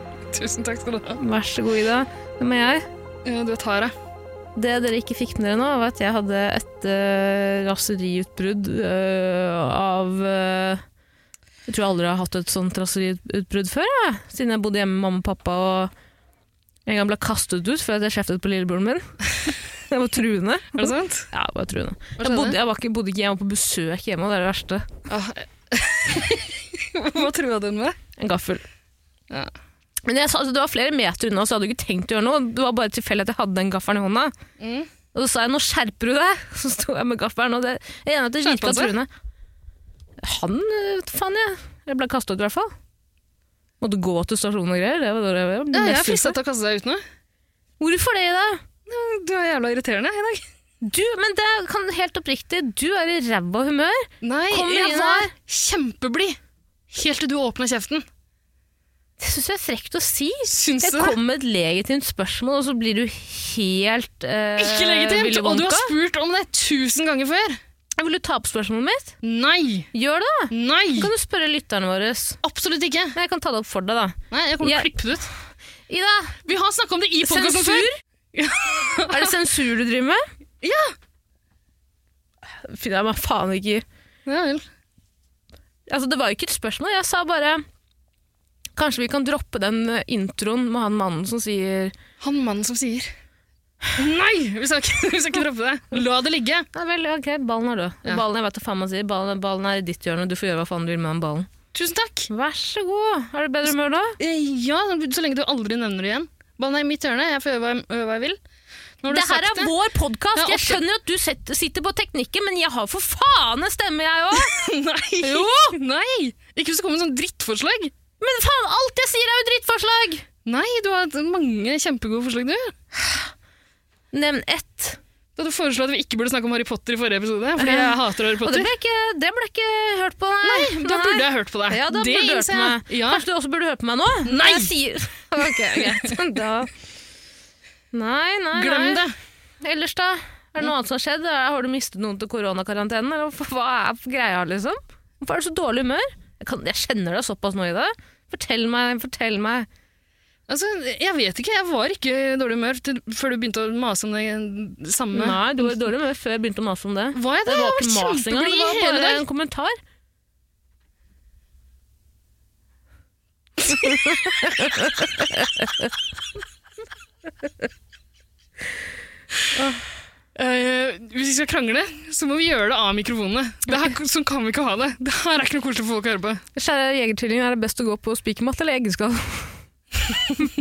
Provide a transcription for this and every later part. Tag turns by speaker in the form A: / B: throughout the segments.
A: Tusen takk skal du ha.
B: Vær så god, Ida. Hvem er jeg?
A: Ja, Du er Tara.
B: Det dere ikke fikk med dere nå, var at jeg hadde et uh, raseriutbrudd øh, av øh, Jeg tror jeg aldri har hatt et sånt raseriutbrudd før, jeg. siden jeg bodde hjemme med mamma og pappa og en gang ble kastet ut for at jeg kjeftet på lillebroren min. Jeg var truende.
A: Er det sant?
B: Ja, jeg var truende.
A: Hva
B: Jeg bodde,
A: skjedde?
B: jeg var ikke, bodde ikke hjemme på besøk hjemme, og det er det verste.
A: Ah, Hva trua den med?
B: En gaffel.
A: Ja.
B: Men jeg sa, altså, det var flere meter unna, så jeg hadde jo ikke tenkt å gjøre noe. Det var bare tilfeldig at jeg hadde den gaffelen i hånda.
A: Mm.
B: Og så sa jeg 'nå skjerper du deg', så sto jeg med gaffelen, og det jeg er enig i at det
A: Skjerpa
B: virka
A: han seg?
B: truende. Han øh, vet faen, jeg. Jeg ble kasta ut, i hvert fall. Måtte gå til stasjonen og greier. Det var, det var
A: Ja, jeg
B: mest
A: er frista
B: ute.
A: til å kaste deg ut nå.
B: Hvorfor det, Ida?
A: Du er jævla irriterende i dag.
B: Du, men det kan helt oppriktig, du er i ræva humør.
A: Nei,
B: Kom
A: jeg
B: inn her.
A: var kjempeblid helt til du åpna kjeften.
B: Det syns jeg er frekt å si.
A: Syns
B: Jeg
A: du det?
B: kom med et legitimt spørsmål, og så blir du helt eh,
A: Ikke legitimt!
B: Willy
A: Og du har
B: Wonka.
A: spurt om det tusen ganger før.
B: Jeg vil du ta opp spørsmålet mitt?
A: Nei!
B: Gjør det, da!
A: Nei!
B: Kan du spørre lytterne våre?
A: Absolutt ikke.
B: Nei, Jeg kan ta det opp for deg, da.
A: Nei, Jeg kommer til
B: Jeg-
A: å klippe det ut.
B: Ida!
A: Vi har snakka om det i podkasten
B: Sensur?
A: før.
B: er det sensur du driver med?
A: Ja.
B: Finner jeg meg faen ikke i.
A: Ja vel.
B: Altså, det var jo ikke et spørsmål. Jeg sa bare Kanskje vi kan droppe den eh, introen med han mannen som sier
A: Han mannen som sier Nei! Vi skal ikke, vi skal ikke droppe det. La det ligge.
B: Nei vel, ok, ballen er død.
A: Ja.
B: Ballen, jeg vet hva faen man sier. Ballen, ballen er i ditt hjørne, du får gjøre hva faen du vil med den ballen.
A: Tusen takk.
B: Vær så god. Er du i bedre humør da?
A: Eh, Ja, så lenge du aldri nevner det igjen. Ballen er i mitt hjørne, jeg får gjøre hva jeg, gjøre hva jeg vil. Nå har du
B: Det her
A: sagt
B: er vår podkast.
A: Ja,
B: Jeg
A: ofte-
B: skjønner at du set- sitter på teknikken, men jeg har for faen en stemme, jeg òg!
A: Nei! Nei! Ikke hvis det kommer et sånt drittforslag.
B: Men faen, alt jeg sier er jo drittforslag!
A: Nei, du har hatt mange kjempegode forslag, du.
B: Nevn ett.
A: Da du foreslo at vi ikke burde snakke om Harry Potter i forrige episode, fordi
B: Ja.
A: jeg hater Harry
B: Eh, Og det
A: Potter.
B: ble, ikke, det ble ikke hørt på, nei.
A: Nei, da burde jeg hørt på deg.
B: Ja, da
A: det
B: burde du hørt
A: innser
B: på
A: jeg.
B: meg.
A: Ja.
B: Kanskje du også burde høre på meg nå?
A: Nei!
B: Jeg sier... Ok, greit. Da... Nei, nei,
A: Glem
B: nei.
A: det.
B: Ellers da? Er det noe annet som har skjedd? Har du mistet noen til koronakarantenen? eller Hva hva er greia, liksom? Hvorfor er du så dårlig humør? Jeg, kan, jeg kjenner deg såpass nå i dag. Fortell meg, fortell meg.
A: Altså, jeg vet ikke, jeg var ikke i dårlig humør til, før du begynte å mase om det samme.
B: Nei, du var i dårlig humør før jeg begynte å mase om det.
A: Var jeg det?
B: Det var
A: jeg
B: ikke
A: har vært
B: masing, det
A: kjempeblid
B: var
A: hele
B: bare
A: dag.
B: en kommentar.
A: Eh, hvis vi skal krangle, så må vi gjøre det av mikrofonene. Det her, sånn kan vi ikke ha det. Det her er ikke noe koselig for folk å høre på.
B: Kjære jegertvilling, er det best å gå på spikermatte eller egenskall?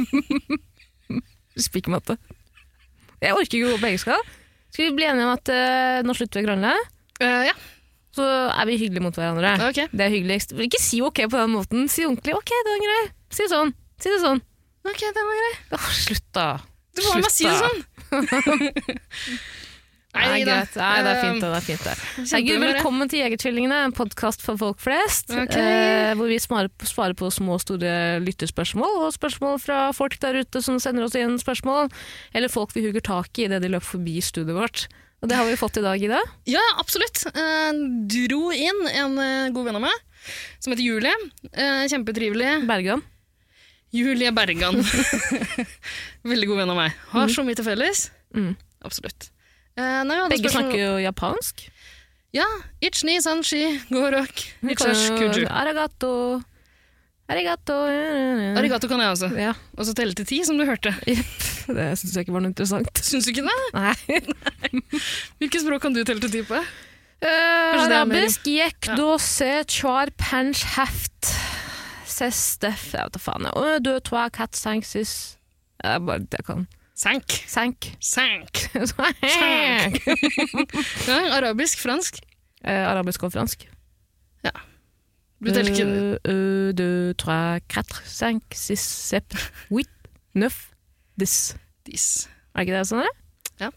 B: spikermatte. Jeg orker ikke å gå på egenskall. Skal vi bli enige om at eh, nå slutter vi å krangle,
A: Eh, ja,
B: så er vi hyggelige mot hverandre.
A: ok.
B: Det er hyggeligst. Men ikke si ok på den måten. Si ordentlig ok, det var grei. Si sånn. Si det sånn.
A: Ok, det var greit.
B: Åh, slutt, da.
A: Du får meg si det
B: Slutt,
A: sånn.
B: Nei,
A: da.
B: greit. Nei,
A: eh,
B: det er fint, det. det er fint det. Herregud,
A: kjempebra.
B: velkommen til Jegertvillingene, en podkast for folk flest.
A: Ok.
B: eh, hvor vi svarer på, svarer på små og store lytterspørsmål, og spørsmål fra folk der ute som sender oss inn spørsmål. Eller folk vi hugger tak i idet de løp forbi studioet vårt. Og det har vi fått i dag, Ida.
A: Eh, ja, absolutt. Eh, dro inn en eh, god venn av meg, som heter Julie. Eh, kjempetrivelig.
B: Bergan.
A: Julie Bergan. Veldig god venn av meg. Har så mye til felles.
B: Mm.
A: Absolutt. Eh, nei, vi hadde
B: Begge
A: spørsmål-
B: snakker jo japansk.
A: Ja, ichni, san, shi, gorok, ichash, kuju.
B: Arigato. Arigato. Mm.
A: Arigato kan jeg også.
B: Ja,
A: Og så telle til ti, som du hørte.
B: det syns jeg ikke var noe interessant.
A: Syns du ikke det?
B: Nei.
A: Hvilke språk kan du telle til ti på?
B: Uh,
A: det er mer-
B: arabisk gikk
A: Ja.
B: da se char pench heft ses steff Jeg vet da faen. jeg. Ø, Dø tva kat sank sis Det er bare det jeg kan.
A: Sank.
B: Sank.
A: Sank.
B: Sank.
A: Ja, arabisk, fransk.
B: Eh, arabisk og fransk. Eh,
A: Du teller ikke
B: Ø, ø, Dø tva kat sank sis sept huit neuf dix.
A: Dis.
B: Er ikke det sånn, det?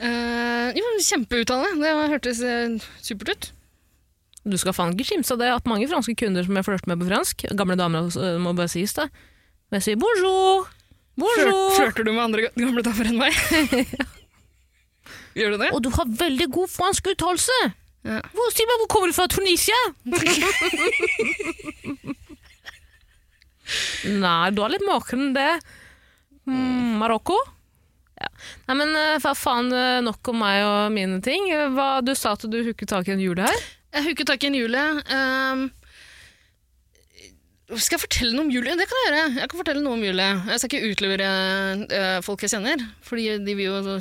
A: Eh, jo, kjempeuttale. Det var- hørtes eh, supert ut.
B: Du skal faen ikke kimse av det at mange franske kunder som jeg flørter med på fransk, gamle damer altså, må bare sies da, men jeg sier bonjour,
A: Flør,
B: bonjour,
A: flørter du med andre ga- gamle damer enn meg? Gjør du det?
B: og du har veldig god fransk uttalelse.
A: Ja.
B: Hvor, si meg, hvor kommer du fra Tunisia? Nei, du har litt maken det. Mm, Marokko? Ja. Nei, men eh, fa faen eh, nok om meg og mine ting. Eh, Hva, du sa at du hukket tak i en jule her.
A: Jeg hooket tak i en jule. ehm, skal jeg fortelle noe om jule? Det kan jeg gjøre. Jeg kan fortelle noe om jule. Jeg skal ikke utlevere eh, folk jeg kjenner, fordi de vil jo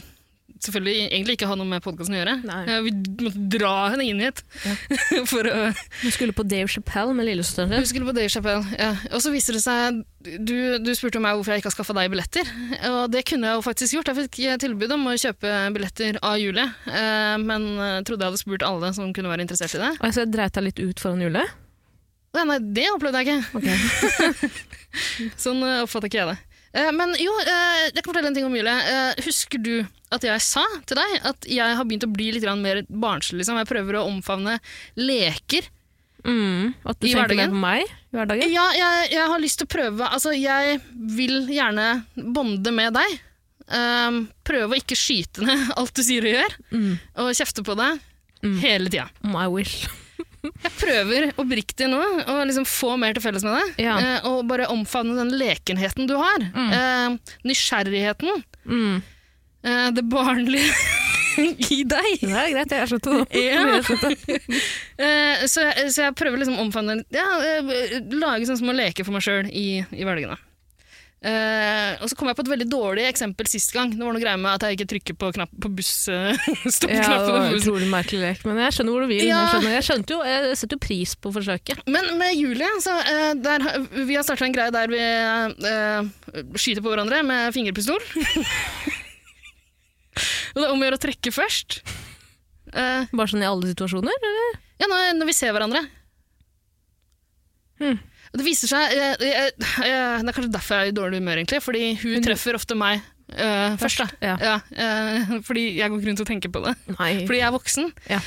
A: selvfølgelig egentlig ikke ha noe med podkasten å gjøre.
B: Nei.
A: Eh, vi måtte dra henne inn hit. for å...
B: Hun skulle på Dave Chappelle med lillesøsteren sin.
A: Hun skulle på Dave Chappelle. Ja. Og så viser det seg du, du spurte meg hvorfor jeg ikke har skaffa deg billetter. Og det kunne jeg jo faktisk gjort. Jeg fikk tilbud om å kjøpe billetter av Julie, eh, men eh, trodde jeg hadde spurt alle som kunne være interessert i det.
B: Og jeg så jeg dreit deg litt ut foran Jule.
A: Nei, nei, det opplevde jeg ikke.
B: Ok.
A: Sånn eh, oppfatter ikke jeg det. Eh, Men jo, eh, jeg kan fortelle en ting om Julie. Eh, Husker du at jeg sa til deg at jeg har begynt å bli litt grann mer barnslig? Liksom. Jeg prøver å omfavne leker
B: Mm, at du
A: I
B: tenker mer
A: hverdagen?
B: på meg i hverdagen.
A: Ja, jeg, jeg har lyst til å prøve Altså, jeg vil gjerne bonde med deg. Um, prøve å ikke skyte ned alt du sier og gjør,
B: Mm.
A: og kjefte på deg
B: Mm.
A: hele tida.
B: I wish.
A: Jeg prøver oppriktig nå å liksom få mer til felles med deg,
B: Ja.
A: eh, og bare omfavne den lekenheten du har. eh, nysgjerrigheten,
B: Mm.
A: eh, det barnlige i deg.
B: Det er greit, jeg er slutta nå.
A: Ja.
B: Jeg slutter.
A: Eh, så, jeg, så jeg prøver liksom å omfavne ja, eh, Lage sånne små leker for meg sjøl i, i hverdagen. da. Eh, og så kom jeg på et veldig dårlig eksempel sist gang. Det var noe greier med at jeg ikke trykker på, knapp, på buss, eh,
B: Ja, det
A: stoppknappen
B: var
A: på
B: en
A: bussen.
B: utrolig merkelig lek, men jeg skjønner hvor du vil.
A: Ja.
B: Jeg, skjønner, jeg skjønte jo, jeg setter jo pris på forsøket.
A: Men med Julie så, eh, der, har- Vi har starta en greie der vi eh, skyter på hverandre med fingerpistol. og det er om å gjøre å trekke først. Eh,
B: Bare sånn i alle situasjoner. eller?
A: Ja, når, når vi ser hverandre.
B: Hmm.
A: Det viser seg eh, eh, eh, Det er kanskje derfor jeg er i dårlig humør, egentlig. Fordi hun treffer ofte meg eh, først. da.
B: Ja.
A: Ja, eh, fordi jeg går ikke rundt og tenker på det.
B: Nei.
A: Fordi jeg er voksen.
B: Ja.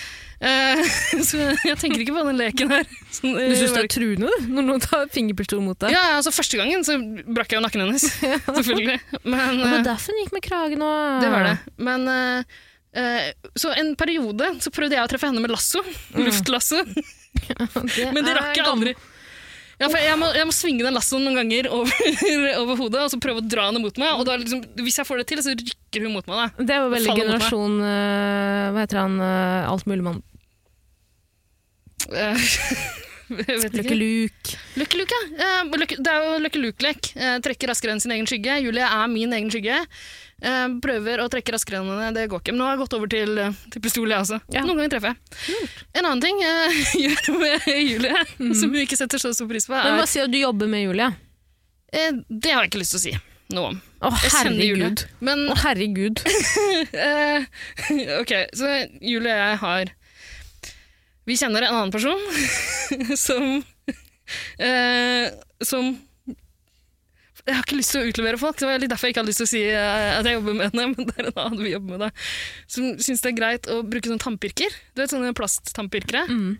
A: Eh, så jeg tenker ikke på den leken her. Sånn, eh,
B: Du syns det er truende du, når noen tar fingerpistol mot deg?
A: ja, altså Første gangen så brakk jeg jo nakken hennes, selvfølgelig. Men,
B: Det var
A: eh,
B: derfor den gikk med kragen og
A: det var det. Men eh, eh, Så en periode så prøvde jeg å treffe henne med lasso.
B: Mm.
A: Luftlasso. Men det rakk jeg aldri. Ja, for jeg, må, jeg må svinge den lassoen noen ganger over, over hodet og så prøve å dra henne mot meg. Og da, liksom, hvis jeg får det til, så rykker hun mot meg. Da.
B: Det er jo veldig
A: Faller mot meg.
B: generasjon eh, Hva heter han? eh, Altmuligmann.
A: Eh, jeg vet
B: Løkke
A: ikke.
B: Luke.
A: Lucky Luke, ja. Eh, Lucky- Det er jo Lucky Luke-lek. Eh, Trekker raskere enn sin egen skygge. Julie er min egen skygge. Eh, Prøver å trekke raskere enn henne, det går ikke. Men nå har jeg gått over til, eh, til pistol, jeg også.
B: Ja.
A: Noen ganger treffer jeg. En annen ting jeg gjør med Julie, som hun ikke setter så stor pris på,
B: Men
A: er
B: hva sier du du jobber med, Julie?
A: Eh, Det har jeg ikke lyst til å si noe om.
B: Å,
A: Jeg kjenner Julie.
B: herregud.
A: Men
B: Å, herregud.
A: Eh, ok, så Julie og jeg har Vi kjenner en annen person som eh, Som Jeg har ikke lyst til å utlevere folk, det var litt derfor jeg ikke hadde lyst til å si eh, at jeg jobber med henne, men det er en annen vi jobber med, da. Som syns det er greit å bruke sånne tannpirker. Du vet sånne plasttannpirkere?
B: Mm.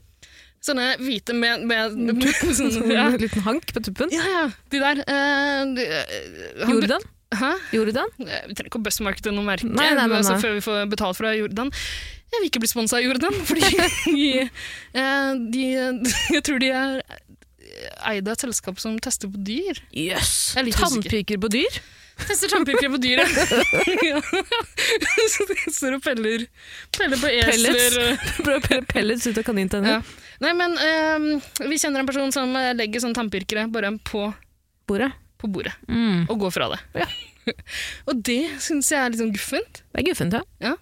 A: Sånne hvite med, med, med,
B: sånn
A: sånne, ja.
B: En liten hank på tuppen.
A: ja, ja, de der. Eh, de, eh, han-
B: Jordan?
A: Hæ?
B: Jordan?
A: Eh, Vi trenger ikke å buzzmarkede noe merke
B: Nei, nei, nei,
A: altså,
B: nei.
A: før vi får betalt fra Jordan. Jeg vil ikke bli sponsa av Jordan, fordi de, eh, de, jeg tror de er eid av et selskap som tester på dyr.
B: Jøss!
A: Jeg er litt usikker.
B: Tannpiker på dyr?
A: Tester tannpirkere på dyr, ja. Så de står og peller, peller på
B: Pellets.
A: esler. og-
B: Prøv å pelle pellets ut av kanintenner.
A: Ja. Nei, men eh, vi kjenner en person som eh, legger sånne tannpirkere bare på,
B: Bordet.
A: på bordet,
B: Mm.
A: og går fra det.
B: Ja.
A: og det syns jeg er litt sånn guffent.
B: Det er guffent, ja.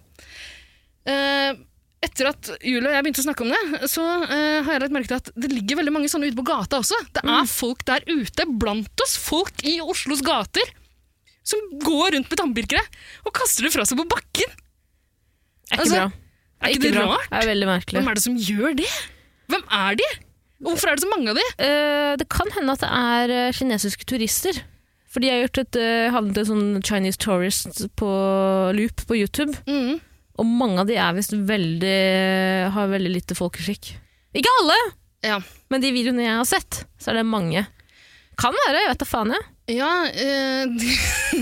A: Eh, etter at Julie og jeg begynte å snakke om det, så eh, har jeg lagt merke til at det ligger veldig mange sånne ute på gata også. Det er folk der ute blant oss, folk i Oslos gater, som går rundt med tannpirkere og kaster det fra seg på bakken.
B: Er ikke
A: Altså,
B: bra.
A: Er ikke det
B: bra.
A: rart?
B: Det er veldig merkelig.
A: Hvem er det som gjør det? Hvem er de? Og Hvorfor er det så mange av de?
B: Eh, det kan hende at det er eh, kinesiske turister. Fordi jeg har gjort et, eh, havnet i en sånn Chinese tourist på loop på YouTube,
A: Mm.
B: og mange av de er visst veldig har veldig lite folkeskikk. Ikke alle,
A: Ja.
B: men de videoene jeg har sett, så er det mange. Kan være, jeg vet da faen jeg.
A: ja eh,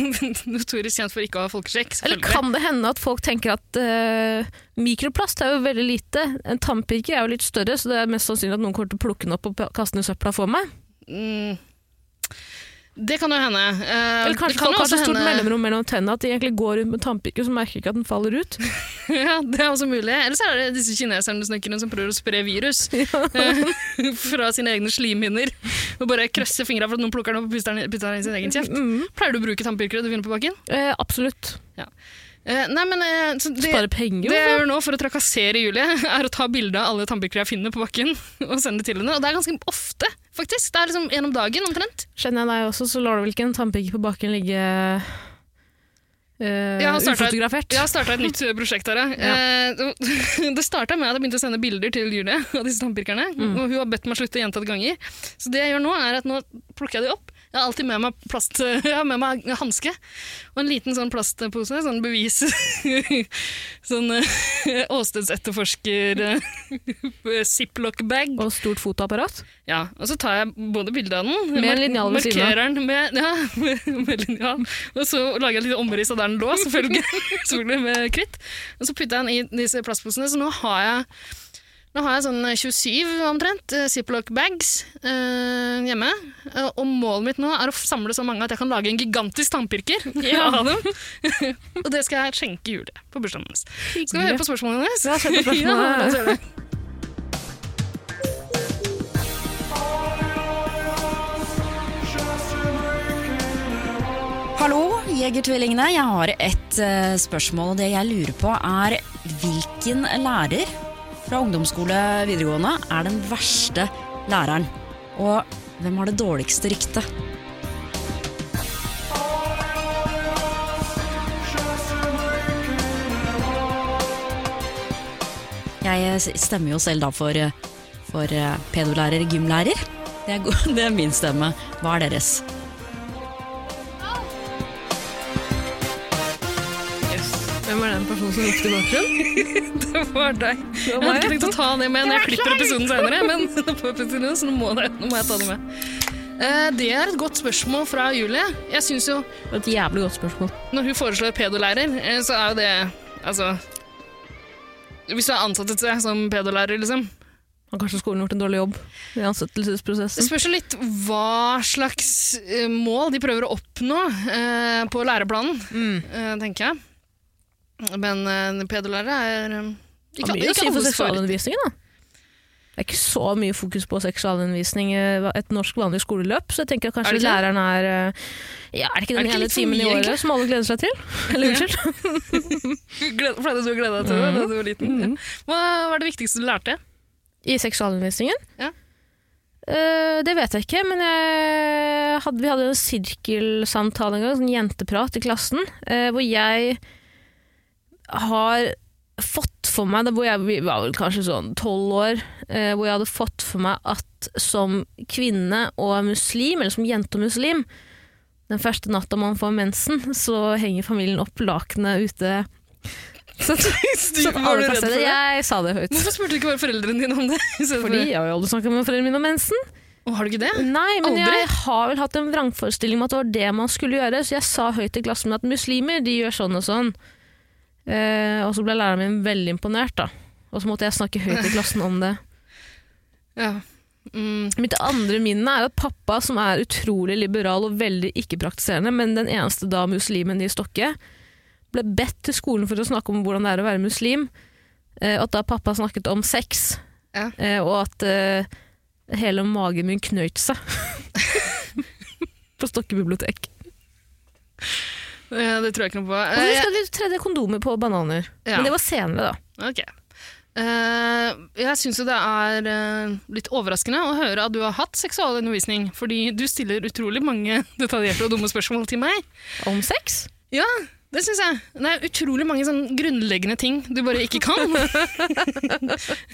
A: notorisk kjent for ikke å ha folkesjekk,
B: Eller
A: selvfølgelig.
B: kan det hende at folk tenker at eh, mikroplast er jo veldig lite, en tannpirker er jo litt større, så det er mest sannsynlig at noen kommer til å plukke den opp og p- kaste den i søpla for meg.
A: Mm. Det kan jo hende. Eh,
B: Eller kanskje
A: det kan
B: folk
A: jo
B: har så
A: også
B: stort
A: hende-
B: mellomrom mellom tennene at de egentlig går rundt med tannpirker, så merker de ikke at den faller ut.
A: Ja, det er også mulig. Eller så er det disse kineserne og snekkerne som prøver å spre virus eh, fra sine egne slimhinner. Og bare krøsser fingra for at noen plukker den opp og putter den putter den i sin egen kjeft.
B: Mm.
A: Pleier du å bruke tannpirkere du finner på bakken?
B: Eh, absolutt.
A: Eh, nei, men eh, så det,
B: Spare penger. liksom.
A: det jeg
B: hvorfor?
A: gjør nå for å trakassere Julie, er å ta bilde av alle tannpirkere jeg finner på bakken, og sende det til henne. Og det er ganske ofte, faktisk. Det er liksom en om dagen omtrent.
B: Kjenner jeg deg også, så lar du vel ikke en tannpirker på bakken ligge eh,
A: Jeg har startet-
B: ufotografert?
A: Jeg har starta et nytt prosjekt her. jeg. Eh, det starta med at jeg begynte å sende bilder til Julie av disse tannpirkerne. Og hun har bedt meg slutte gjentatte ganger. Så det jeg gjør nå, er at nå plukker jeg de opp. Jeg har alltid med meg, plast, jeg har med meg hanske og en liten sånn plastpose. Sånn bevis Sånn eh, åstedsetterforsker eh, ziplock-bag.
B: Og stort fotoapparat?
A: Ja, og så tar jeg både bilde av den
B: Med en
A: mark-
B: linjal ved siden av.
A: Markerer den med, ja, med, med linjal. Og så lager jeg et lite omriss av der den lå, selvfølgelig, selvfølgelig med kritt. Og så putter jeg den i disse plastposene, så nå har jeg, nå har jeg sånn 27 omtrent eh, Ziploc-bags eh, hjemme. Eh, Og målet mitt nå er å samle så mange at jeg kan lage en gigantisk tannpirker
B: Ja.
A: av dem. og det skal jeg skjenke Julie på bursdagen hennes. Skal vi høre på spørsmålene hennes?
B: Ja, kjør på spørsmålene.
A: la oss gjøre det.
C: Hallo, Jegertvillingene. Jeg har et eh, spørsmål. og Det jeg lurer på, er hvilken lærer fra ungdomsskole videregående er den verste læreren? Og hvem har det dårligste ryktet? Jeg eh, stemmer jo selv da for, eh, for eh, pedolærer, gymlærer. Det er, go- det er min stemme. Hva er deres?
B: Hvem er den personen som lukter i bakgrunnen?
A: Det var deg. Jeg hadde ikke tenkt å ta det liksom. med når jeg klipper episoden senere, men nå får jeg episoden, så nå må, det, nå må jeg ta det med. Eh, Det er et godt spørsmål fra Julie. Jeg synes jo,
B: Et jævlig godt spørsmål.
A: når hun foreslår pedolærer, eh, så er jo det Altså Hvis du er ansatt et sted som pedolærer, liksom.
B: Har kanskje skolen gjort en dårlig jobb i
A: Det
B: ansettelsesprosessen?
A: spørs jo litt hva slags eh, mål de prøver å oppnå eh, på læreplanen, eh, tenker jeg. Men eh, pedolærer er eh,
B: Det
A: ikke,
B: blir jo si
A: ikke
B: for
A: alles favoritt.
B: seksualundervisningen, da. Det er ikke så mye fokus på seksualundervisning i et norsk vanlig skoleløp, så jeg tenker at
A: Er
B: kanskje
A: det ikke
B: læreren er eh, ja, Er det ikke
A: Er
B: den
A: det ikke
B: ene
A: litt for
B: timen i
A: mye,
B: året
A: egentlig?
B: som alle gleder seg til? Eller unnskyld?
A: Gled- Pleide du å glede deg til det da du var liten?
B: Mm.
A: Hva var det viktigste du lærte?
B: I seksualundervisningen?
A: Ja.
B: Eh, det vet jeg ikke, men jeg hadde, vi hadde en sirkelsamtale en gang, sånn jenteprat i klassen, eh, hvor jeg har fått for meg, da hvor jeg vi var vel kanskje sånn tolv år, eh, hvor jeg hadde fått for meg at som kvinne og muslim, eller som jente og muslim, den første natta man får mensen, så henger familien opp lakenet ute. Så, så
A: Var du
B: alle
A: redd for
B: plasserer.
A: det?
B: Jeg sa det høyt.
A: Hvorfor spurte du ikke bare foreldrene dine om det? i stedet for
B: Fordi
A: det?
B: jeg har jo aldri snakka med foreldrene mine om mensen.
A: Å, har du ikke det?
B: Nei, men
A: Aldri?
B: jeg har vel hatt en vrangforestilling om at det var det man skulle gjøre, så jeg sa høyt i klassen min at muslimer de gjør sånn og sånn. Eh, og så ble læreren min veldig imponert, da. Og så måtte jeg snakke høyt i klassen om det.
A: Ja. Mm.
B: Mitt andre minne er at pappa, som er utrolig liberal og veldig ikke-praktiserende, men den eneste da muslimen i Stokke, ble bedt til skolen for å snakke om hvordan det er å være muslim. eh, og At da pappa snakket om sex,
A: Ja.
B: eh, og at eh, hele magen min knøyt seg. på Stokke bibliotek.
A: Eh, Det tror jeg ikke noe på.
B: Og så
A: Eh,
B: skal de tredje kondomer på bananer.
A: Ja.
B: Men det var senere, da.
A: ok. Eh, jeg syns jo det er eh, litt overraskende å høre at du har hatt seksualundervisning, fordi du stiller utrolig mange detaljerte og dumme spørsmål til meg.
B: Om sex?
A: Ja, det syns jeg. Det er utrolig mange sånn grunnleggende ting du bare ikke kan.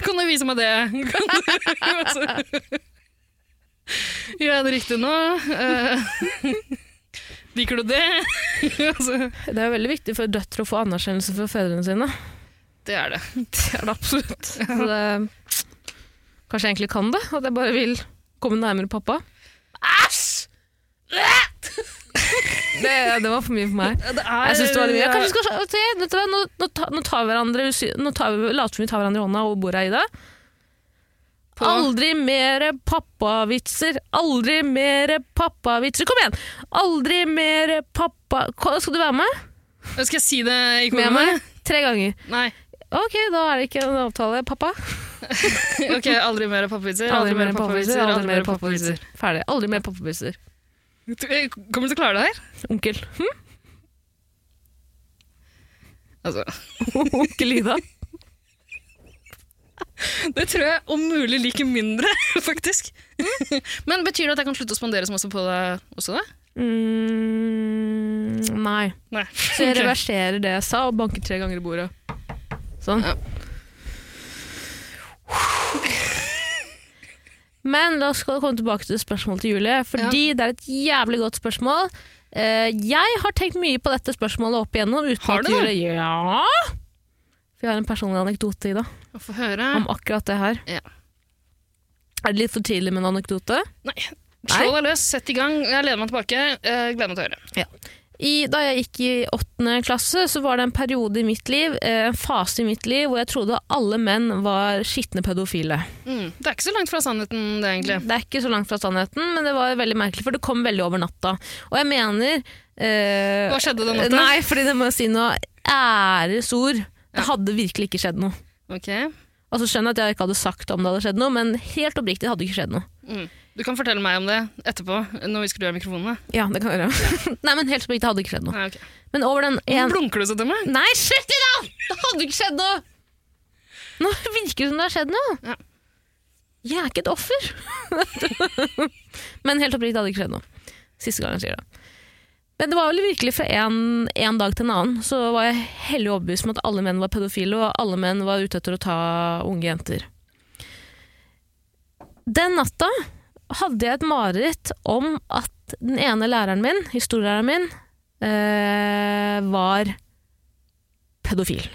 A: kan du vise meg det? Kan du, altså. Gjør jeg det riktig nå? Eh, Liker du det? altså,
B: Det er jo veldig viktig for døtre å få anerkjennelse for fedrene sine.
A: det er det. Det er det absolutt.
B: Så det, kanskje jeg egentlig kan det, at jeg bare vil komme nærmere pappa.
A: Æsj!
B: Det, det var for mye for meg.
A: Det er,
B: Jeg synes det var litt mye. Jeg Kanskje vi skal, se, vet du hva, nå, nå, ta- nå tar vi hverandre, usy- nå tar vi, later vi vi tar hverandre i hånda og bordet er i det.
A: På-
B: Aldri mere pappavitser, aldri mere pappavitser. Kom igjen! Aldri mere pappa... Ko- Skal du være med?
A: Skal jeg si det i
B: Med
A: koret?
B: meg? Tre ganger.
A: Nei.
B: Ok, da er det ikke en avtale, pappa.
A: Ok, aldri mer pappavitser.
B: Aldri mer pappavitser,
A: pappavitser,
B: aldri mer pappavitser. Ferdig. Aldri mer pappavitser.
A: Du, eh, Kommer du til å klare det her?
B: Onkel. Hm?
A: Altså,
B: Onkel Ida.
A: det tror jeg om mulig liker mindre, faktisk. Mm. Men betyr det at jeg kan slutte å spandere så masse på deg også, da?
B: Mm, nei.
A: Nei.
B: Så jeg
A: Ok.
B: reverserer det jeg sa, og banker tre ganger i bordet. Sånn.
A: Ja.
B: Men la oss komme tilbake til spørsmålet til Julie, fordi det er et jævlig godt spørsmål. Eh, jeg har tenkt mye på dette spørsmålet opp igjennom. Uten
A: Har
B: at
A: du det?
B: Julie- Ja! For jeg har en personlig anekdote, Ida,
A: Få høre.
B: om akkurat det her.
A: Ja.
B: Er det litt for tidlig med en anekdote?
A: Nei. Slå deg løs, sett i gang. Jeg leder meg tilbake. Eh, gleder meg til å høre.
B: I, da jeg gikk i åttende klasse, så var det en periode i mitt liv, eh, en fase i mitt liv, hvor jeg trodde alle menn var skitne pedofile.
A: Mm. Det er ikke så langt fra sannheten, det, egentlig.
B: Det er ikke så langt fra sannheten, men det var veldig merkelig, for det kom veldig over natta. Og jeg mener eh,
A: Hva skjedde den natta?
B: Nei, fordi det må jeg si noe æresord. Det hadde virkelig ikke skjedd noe.
A: Ok.
B: Altså Skjønner jeg at jeg ikke hadde sagt om det hadde skjedd noe, men helt oppriktig det hadde ikke skjedd noe.
A: Mm. Du kan fortelle meg om det etterpå, når vi skrur av mikrofonene.
B: Ja, det kan jeg gjøre. Nei, men helt oppriktig det hadde ikke skjedd noe.
A: Nei, ok.
B: Men over den en...
A: Blunker du så til meg?
B: Nei, slutt i dag! Det hadde ikke skjedd noe! Nå virker det som det har skjedd noe.
A: Ja.
B: Jeg er ikke et offer. Men helt oppriktig, det hadde ikke skjedd noe. Siste gang jeg sier det. Men det var vel virkelig fra en, en dag til en annen så var jeg hellig overbevist om at alle menn var pedofile, og alle menn var ute etter å ta unge jenter. Den natta hadde jeg et mareritt om at den ene læreren min, historielæreren min, eh, var pedofil.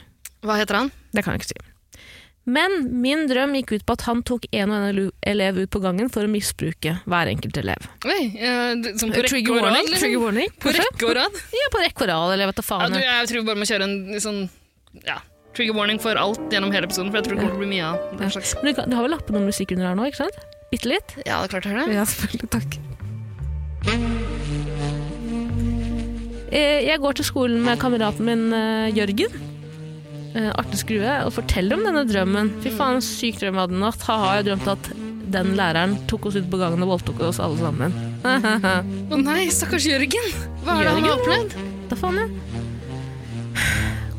A: Hva heter han?
B: Det kan jeg ikke si. Men min drøm gikk ut på at han tok en og en elu- elev ut på gangen for å misbruke hver enkelt elev.
A: Oi, eh, d- sånn på rekke
B: Trigger
A: og rad?
B: warning,
A: liksom?
B: trigger warning,
A: På
B: kanskje?
A: rekke og rad?
B: Ja, på rekke og rad, eller jeg vet da
A: Ja,
B: faen.
A: du, jeg tror vi bare må kjøre en sånn ja, trigger warning for alt gjennom hele episoden, for jeg tror det kommer til å bli mye av den slags.
B: Men du, kan- du har vel lappet noe musikk under her nå, ikke sant? Bitte litt?
A: Ja, det er klart det er det.
B: Ja, selvfølgelig. Takk. Eh, Jeg går til skolen med kameraten min eh, Jørgen. eh, Artig skrue. Og forteller om denne drømmen. Fy faen, en syk drøm jeg hadde i natt. Ha-ha, jeg drømte at den læreren tok oss ut på gangen og voldtok oss alle sammen.
A: Å nei, stakkars Jørgen! Hva er det
B: Jørgen?
A: han har opplevd?
B: Da faen jeg.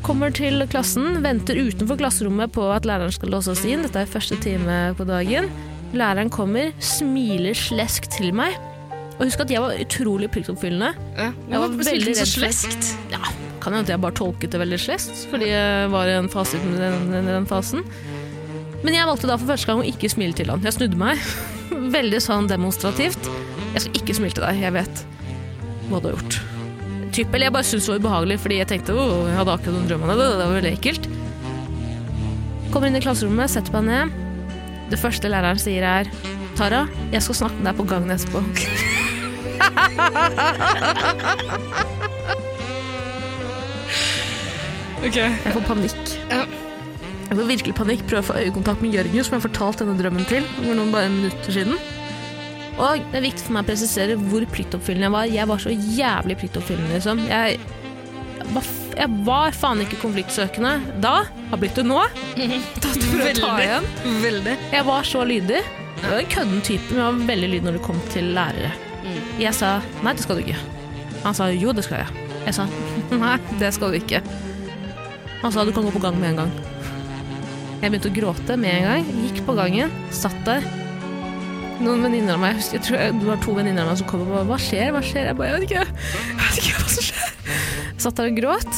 B: Kommer til klassen, venter utenfor klasserommet på at læreren skal låse oss inn. Dette er første time på dagen. Læreren kommer, smiler slesk til meg. Og husk at jeg var utrolig pliktoppfyllende.
A: Ja,
B: Jeg var
A: hvorfor
B: veldig
A: spilte han så
B: redd for-
A: sleskt?
B: Ja, kan hende at jeg bare tolket det veldig slesk, fordi jeg var i en fase uten den, den, den fasen. Men jeg valgte da for første gang å ikke smile til han. Jeg snudde meg. Veldig sånn demonstrativt. Jeg skal ikke smile til deg, jeg vet hva du har gjort. Typ, eller jeg bare syntes det var ubehagelig, fordi jeg tenkte åh, jeg hadde akkurat noen drømmene, det, det var veldig ekkelt. Kommer inn i klasserommet, setter meg ned. Det første læreren sier er Tara, jeg skal snakke med deg på gangen etterpå.
A: Ok.
B: Jeg får panikk.
A: Ja.
B: Jeg får virkelig panikk. Prøver å få øyekontakt med Jørgen, som jeg har fortalt denne drømmen til for noen bare minutter siden. Og det er viktig for meg å presisere hvor pliktoppfyllende jeg var. Jeg var så jævlig pliktoppfyllende, liksom. Jeg, jeg, var, f- jeg var faen ikke konfliktsøkende da. Har blitt det nå. Da tror jeg å ta
A: Mhm. Veldig.
B: igjen.
A: Veldig.
B: Jeg var så lydig. Jeg var en kødden type, men jeg var veldig lydig når det kom til lærere. Jeg sa 'nei, det skal du ikke'. Han sa 'jo, det skal jeg'. Jeg sa 'nei, det skal du ikke'. Han sa 'du kan gå på gang med en gang'. Jeg begynte å gråte med en gang. Gikk på gangen, satt der. Noen venninner av meg, jeg husker- jeg tror jeg- det var to venninner av meg som kom og bare 'hva skjer', hva skjer? Jeg bare 'jeg vet ikke, jeg vet ikke hva som skjer'. Satt der og gråt.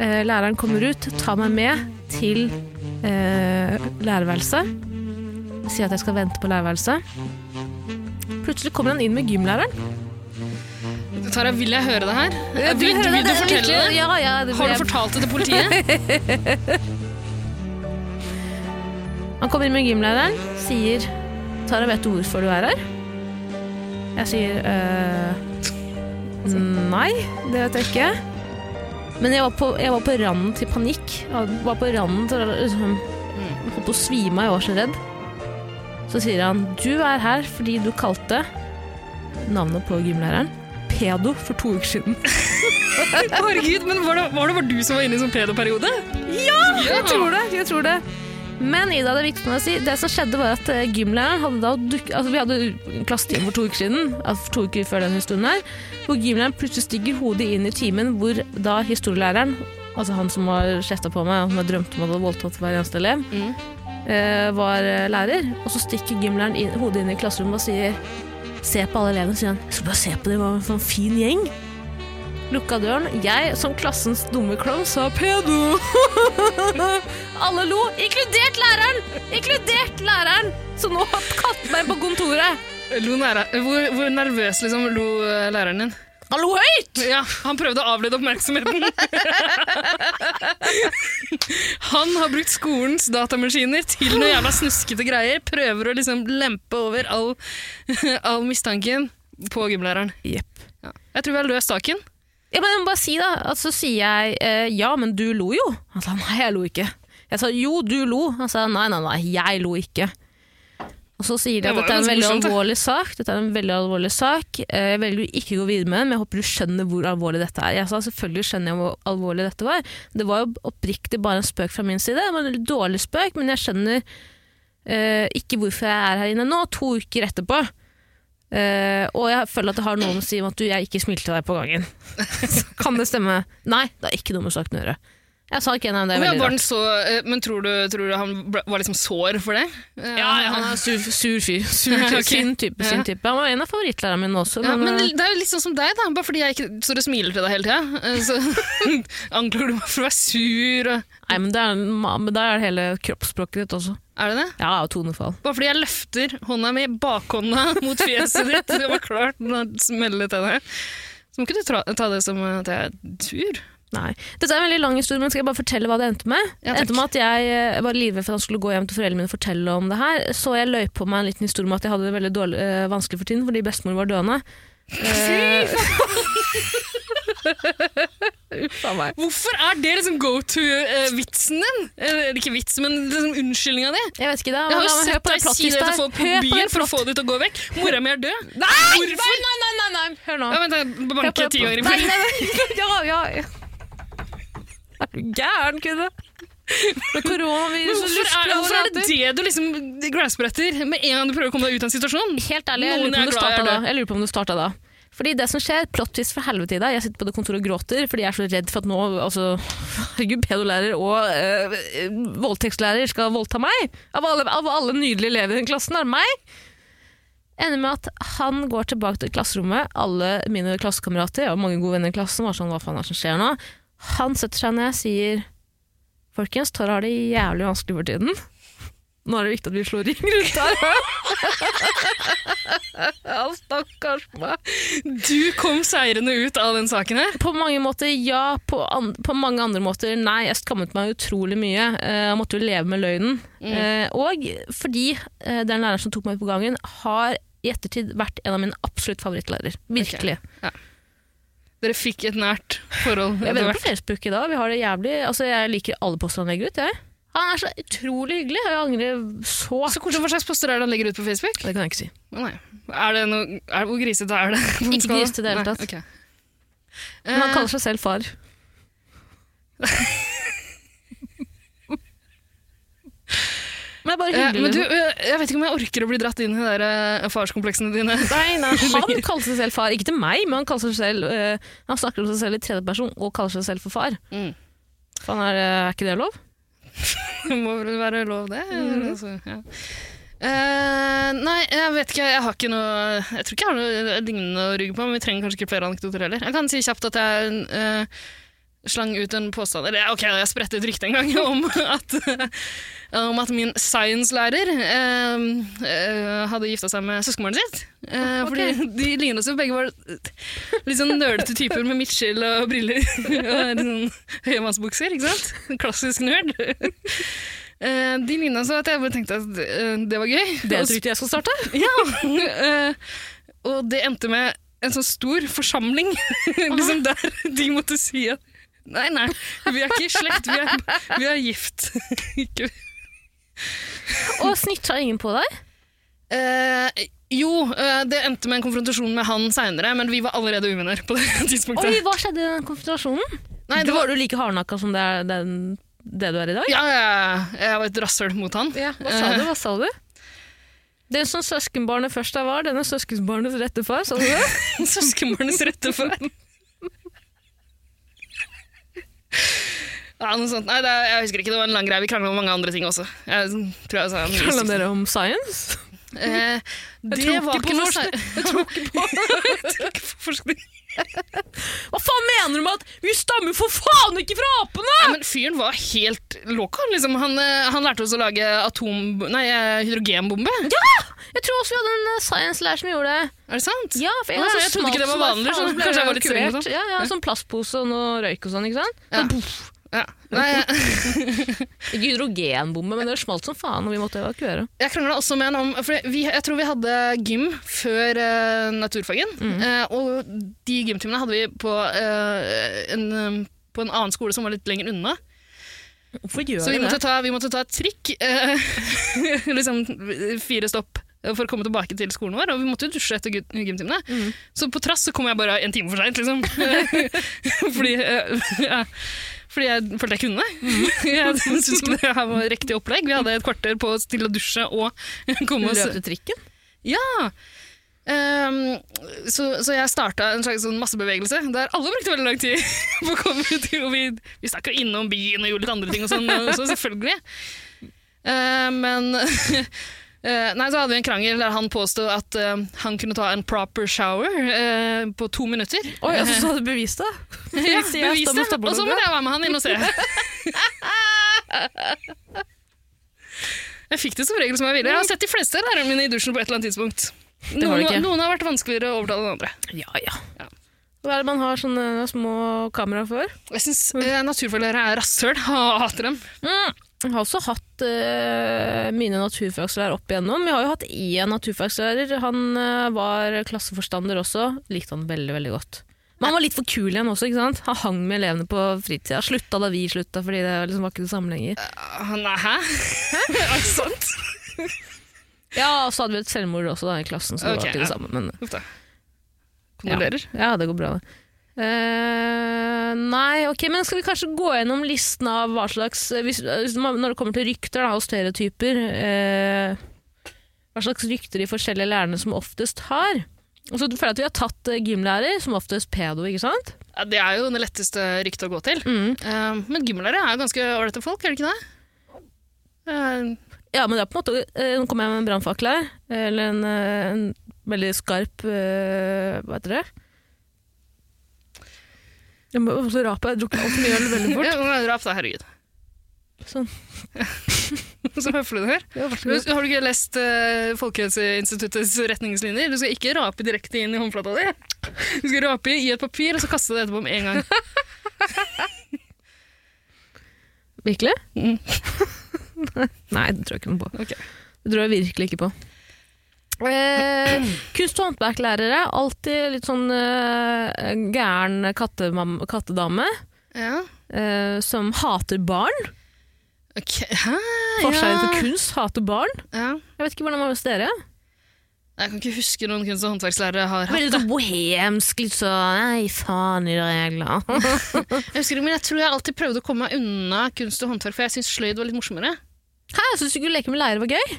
B: Eh, Læreren kommer ut, tar meg med til eh, lærerværelset sier at jeg skal vente på lærerværelset. Plutselig kommer han inn med gymlæreren.
A: Tara, vil jeg høre det her? Vil,
B: Hører
A: vil
B: det,
A: du
B: det er
A: fortelle
B: virkelig-
A: det?
B: Ja, ja, det
A: Har
B: jeg-
A: du fortalt det til politiet?
B: Han kommer inn med gymlederen, sier Tara, vet du hvorfor du er her? Jeg sier «Øh, Nei, det vet jeg ikke. Men jeg var på, jeg var på randen til panikk. Jeg var på randen til å liksom, holdt på å svime av, jeg var så redd. Så sier han du er her fordi du kalte navnet på gymlæreren pedo for to uker siden.
A: Herregud, men var det, var det bare du som var inne i en sånn pedoperiode? Ja!
B: Jeg tror det, jeg tror det. Men Ida, det er viktig for meg å si Det som skjedde var at eh, gymlæreren hadde da duk, altså Vi hadde klassetime for to uker siden altså For to uker før denne historien her Hvor gymlæreren plutselig stikker hodet inn i timen Hvor da historielæreren Altså han som har kjefta på meg Han som jeg drømte om at hadde voldtatt hver eneste elev
A: Mm.
B: eh, Var eh, lærer Og så stikker gymlæreren inn, hodet inn i klasserommet Og sier Se på alle elevene, sier han Jeg skal bare se på det, hva for en fin gjeng Lukka døren Jeg, som klassens dumme klovn, sa pedo Mm, alle lo, inkludert læreren! Inkludert læreren! Som nå har kalt meg på kontoret.
A: Lo nære, hvor, hvor nervøs liksom lo eh, læreren din?
B: Han lo høyt!
A: Ja, han prøvde å avlede oppmerksomheten. han har brukt skolens datamaskiner til noe jævla snuskete greier. Prøver å liksom lempe over all, all mistanken på gymlæreren.
B: Jepp.
A: Ja. Jeg tror vi har løst saken.
B: Ja, men jeg må bare si da, at så sier jeg eh, ja, men du lo jo. Han sa nei, jeg lo ikke. Jeg sa jo, du lo. Han sa nei, nei, nei, jeg lo ikke. Og så sier de
A: Det
B: at
A: var
B: dette er
A: jo
B: en veldig
A: ganske morsomt, da.
B: alvorlig sak. Dette er en veldig alvorlig sak. Eh, Jeg velger å ikke gå videre med den, men jeg håper du skjønner hvor alvorlig dette er. Jeg sa selvfølgelig skjønner jeg hvor alvorlig dette var. Det var jo oppriktig bare en spøk fra min side. Det var en litt dårlig spøk, men jeg skjønner eh, ikke hvorfor jeg er her inne nå, to uker etterpå. Eh, og jeg føler at det har noe å si om at du, jeg ikke smilte til deg på gangen. kan det stemme? Nei, det har ikke noe med saken å gjøre. Jeg sa ikke nei, men det er
A: Men,
B: veldig
A: var
B: rart.
A: den så, eh, men tror du, tror du han ble- var liksom sår for det?
B: Ja, ja, han er sur, sur fyr. Sur,
A: Ja,
B: type.
A: ok.
B: Sin type,
A: Ja.
B: sin type. Han var en av favorittlærerne mine også.
A: Ja, men
B: men, eh,
A: det er jo litt sånn som deg, da. Bare fordi jeg ikke står og smiler til deg hele tida. Så anklager du meg for å være sur. og-
B: Nei, men det er, men da er det hele kroppsspråket ditt også.
A: Er det det?
B: Ja, og tonefall.
A: Bare fordi jeg løfter hånda mi, bakhånda, mot fjeset ditt. Det var klart når jeg smeller til deg. Så må ikke du tra- ta det som at jeg er sur.
B: Nei. Dette er en veldig lang historie, men skal jeg bare fortelle hva det endte med? det
A: Ja, takk.
B: endte med at jeg eh, var livredd for at han skulle gå hjem til foreldrene mine og fortelle om det her. Så jeg løy på meg en liten historie om at jeg hadde det veldig dårlig, eh, vanskelig for tiden fordi bestemor var døende. Eh, Uff a meg.
A: Hvorfor er det liksom go to-vitsen din? Eh, Eller ikke vits, men liksom unnskyldninga di.
B: Jeg vet ikke det.
A: Jeg har jo
B: men hør
A: sett
B: på den
A: deg si
B: plottvisten
A: det til
B: her.
A: folk på
B: Hør
A: byen
B: den
A: for å
B: plott-
A: få dem til å gå vekk. Mora mi er død.
B: Nei!
A: Hvorfor?
B: Nei, nei, nei, nei, hør nå.
A: Ja, vent, jeg
B: Hør på
A: banker
B: den
A: ti år i
B: plott-
A: bilen.
B: Nei, nei, nei. Ja, ja. Er du gæren, kvinne? Med koronavirus og
A: Hvorfor er, hvorfor er
B: luftplager.
A: det det du liksom grasper etter med en gang du prøver å komme deg ut av en situasjon?
B: Helt ærlig, jeg lurer, på om
A: Noen er
B: du
A: glad jeg er
B: starta da.
A: død.
B: jeg lurer på om du starta da. Fordi det som skjer, plottvis fra helvete i deg, jeg sitter på det kontoret og gråter fordi jeg er så redd for at nå, altså, herregud, pedolærer og eh, eh, voldtektslærer skal voldta meg. Av alle, av alle nydelige elever i den klassen, er det meg. Ender med at han går tilbake til klasserommet, alle mine klassekamerater, jeg har mange gode venner i klassen, var sånn, hva faen er det som skjer nå? Han setter seg ned, sier, folkens, Tara har det jævlig vanskelig for tiden. Nå er det viktig at vi slår ring rundt her. Ja, stakkars meg.
A: Du kom seirende ut av den saken her.
B: På mange måter ja, på, an på mange andre måter nei. Jeg skammet meg utrolig mye. Eh, Jeg måtte jo leve med løgnen.
A: Mm.
B: Eh, og fordi eh, den læreren som tok meg på gangen, har i ettertid vært en av mine absolutt favorittlærere. Virkelig.
A: Dere fikk et nært forhold.
B: Jeg
A: etter
B: venner
A: hvert.
B: på Facebook i dag. Vi har det jævlig Altså, jeg liker alle poster han legger ut, jeg. Han er så utrolig hyggelig, og jeg angrer så
A: Så hvordan, Hva slags poster er det han legger ut på Facebook?
B: Det kan jeg ikke si.
A: Å, nei. Er det noe, er, hvor grisete er det?
B: Ikke grisete i det hele tatt. Men
A: Eh.
B: han kaller seg selv far. Men det er bare hyggelig.
A: men du,
B: liksom.
A: eh, jeg vet ikke om jeg orker å bli dratt inn i de der eh, farskompleksene dine.
B: Nei, nei, han kaller seg selv far. Ikke til meg, men han, kaller seg selv, eh, han snakker om seg selv i tredjeperson og kaller seg selv for far.
A: Mm.
B: Faen, er, det- er ikke det lov?
A: Det må vel være lov, det. Altså, ja. Eh, nei, jeg vet ikke. Jeg har ikke noe Jeg tror ikke jeg har noe lignende å rugge på, men vi trenger kanskje ikke flere anekdoter heller. Jeg kan si kjapt at jeg eh, slang ut en påstand Eller ok, jeg spredte et rykte en gang om at, om at min science-lærer eh, eh, hadde gifta seg med søskenbarnet sitt. Eh,
B: Ok.
A: Fordi de lignet så begge var litt sånn nerdete typer med midtskill og briller og litt sånn høymannsbukser, ikke sant? Klassisk nerd. Eh, de lignet så at jeg bare tenkte at eh, det var gøy.
B: Det
A: Og
B: er trykket jeg skal starte.
A: ja! eh, og det endte med en sånn stor forsamling, liksom
B: Ah.
A: der de måtte si at Nei, nei, vi er ikke i slekt, vi er, vi er gift. ikke.
B: Og snytta ingen på deg.
A: Eh, jo, eh, det endte med en konfrontasjon med han seinere, men vi var allerede uvenner på det tidspunktet.
B: Oi, hva skjedde i den konfrontasjonen?
A: nei, det
B: var
A: var,
B: du like hardnakka som det, er, den, det du er i dag?
A: ja, ja, ja, jeg var et rasshøl mot han. Eh,
B: Hva sa du? Hva sa du? Den som søskenbarnet først der var, denne søskenbarnets rette far, sa du det?
A: Søskenbarnets rette far. Ja, noe sånt. Nei, det, er- jeg husker ikke, det var en lang greie. Vi krangla om mange andre ting også. Jeg tror jeg sa
B: Handler dere om science?
A: Eh, det
B: tror
A: var
B: ikke
A: ikke
B: på
A: noe
B: forskning.
A: sær- Jeg tror ikke på Jeg tror ikke på forskning.
B: Hva faen mener du med at vi stammer for faen ikke fra apene?!
A: Nei, men fyren var helt loco. Liksom. Han, eh, han lærte oss å lage atom... Nei, eh, hydrogenbombe.
B: Ah! Jeg tror også vi hadde en eh, science-lærer som gjorde det.
A: Er det sant?
B: Ja, for en
A: Å,
B: gang så
A: jeg trodde
B: smalt
A: ikke det var
B: som bare
A: vanlig,
B: faen,
A: så
B: ble
A: kanskje jeg var litt streng
B: evakuert.
A: og sånn.
B: Ja, ja, sånn plastpose og noe røyk og sånn, ikke sant?
A: Ja.
B: Så boff.
A: Ja. Nei, jeg,
B: Ikke hydrogenbombe, men det smalt som faen, og vi måtte evakuere.
A: jeg krangla også med han om For vi, jeg tror vi hadde gym før eh, naturfagen. Eh, og de gymtimene hadde vi på, eh, en, eh, på en annen skole som var litt lenger unna.
B: Hvorfor gjør
A: Så vi
B: vi
A: måtte
B: det?
A: ta, vi måtte ta et trikk, eh, liksom fire stopp for å komme tilbake til skolen vår, og vi måtte jo dusje etter gym- gymtimene.
B: Mm.
A: Så på trass så kom jeg bare en time for seint, liksom. fordi, eh, ja, fordi jeg følte jeg kunne.
B: Mm.
A: jeg syntes ikke det her var riktig opplegg. Vi hadde et kvarter på oss til å dusje og komme oss
B: Løp til trikken?
A: Ja! Ehm, så, så jeg starta en slags sånn massebevegelse der alle brukte veldig lang tid på å komme ut. Og vi, vi stakk jo innom byen og gjorde litt andre ting og sånn, og så selvfølgelig. Eh, men eh, Nei, så hadde vi en krangel der han påstod at eh, han kunne ta en proper shower eh, på to minutter.
B: Oi, altså, så hadde du bevist det?
A: Ja,
B: Sier jeg,
A: bevis
B: stopp-
A: det.
B: stopper
A: Og så
B: du
A: måtte
B: det?
A: jeg være med han inn og se. Jeg fikk det som regel som jeg ville. Jeg har sett de fleste av lærerne mine i dusjen på et eller annet tidspunkt.
B: har
A: Noen,
B: du ikke.
A: noen har vært vanskeligere å overtale enn andre.
B: Ja, ja.
A: Ja.
B: Hva er det man har sånne små kamera for?
A: Jeg syns eh, naturfaglærere er rasshøl. Hater dem.
B: Mm. Jeg har også hatt eh, mine naturfagslærer opp igjennom. Jeg har jo hatt én naturfagslærer. Han eh, var klasseforstander også. Likte han veldig, veldig godt. Men han var litt for kul igjen også. ikke sant? Han hang med elevene på fritida. Slutta da vi slutta, fordi det liksom var ikke det samme lenger.
A: Ah, Nei, hæ? Er det sant?
B: Ja, og så hadde vi et selvmord også da i klassen, så det
A: Ok,
B: var ikke
A: ja.
B: det samme. Men
A: Uff da. Kondolerer.
B: Ja, det går bra, det. Eh, nei, ok, men skal vi kanskje gå gjennom listen av hva slags eh, hvis, hvis man- Når det kommer til rykter da, og stereotyper eh, Hva slags rykter de forskjellige lærerne som oftest har. Og så føler jeg at vi har tatt eh, gymlærer, som oftest pedo, ikke sant?
A: Ja. Det er jo det letteste ryktet å gå til.
B: Mm.
A: Eh, men gymlærere er jo ganske ålreite folk, er det ikke det? Eh,
B: Ja, men det er på en måte eh, Nå kommer jeg med en brannfakkel her. Eller en, eh, en veldig skarp eh, Hva heter det? Jeg må også rape, jeg har drukket altfor mye øl veldig fort.
A: ja, men Drap, da. Herregud.
B: Sånn.
A: Så høflig du er.
B: Ja, vær så god.
A: Har du ikke lest eh, Folkehelseinstituttets retningslinjer? Du skal ikke rape direkte inn i håndflata di. Du skal rape i et papir, og så kaste det etterpå med en gang.
B: Virkelig?
A: Mm.
B: Nei, det tror jeg ikke noe på.
A: Ok.
B: Det tror jeg virkelig ikke på. Eh, kunst- og håndverklærere, alltid litt sånn eh, gæren kattemam, kattedame
A: Ja.
B: eh, som hater barn.
A: Ok, Hæ?
B: Forskjellen
A: ja.
B: på kunst hater barn.
A: ja.
B: Jeg vet ikke hvordan det var hos dere.
A: Jeg kan ikke huske noen kunst- og håndverkslærere har hatt.
B: Veldig sånn bohemsk, litt sånn Nei, faen i regler.
A: Jeg husker det, men jeg tror jeg alltid prøvde å komme meg unna kunst og håndverk, for jeg syns sløyd var litt morsommere.
B: Hæ, syns du ikke å leke med leire var gøy?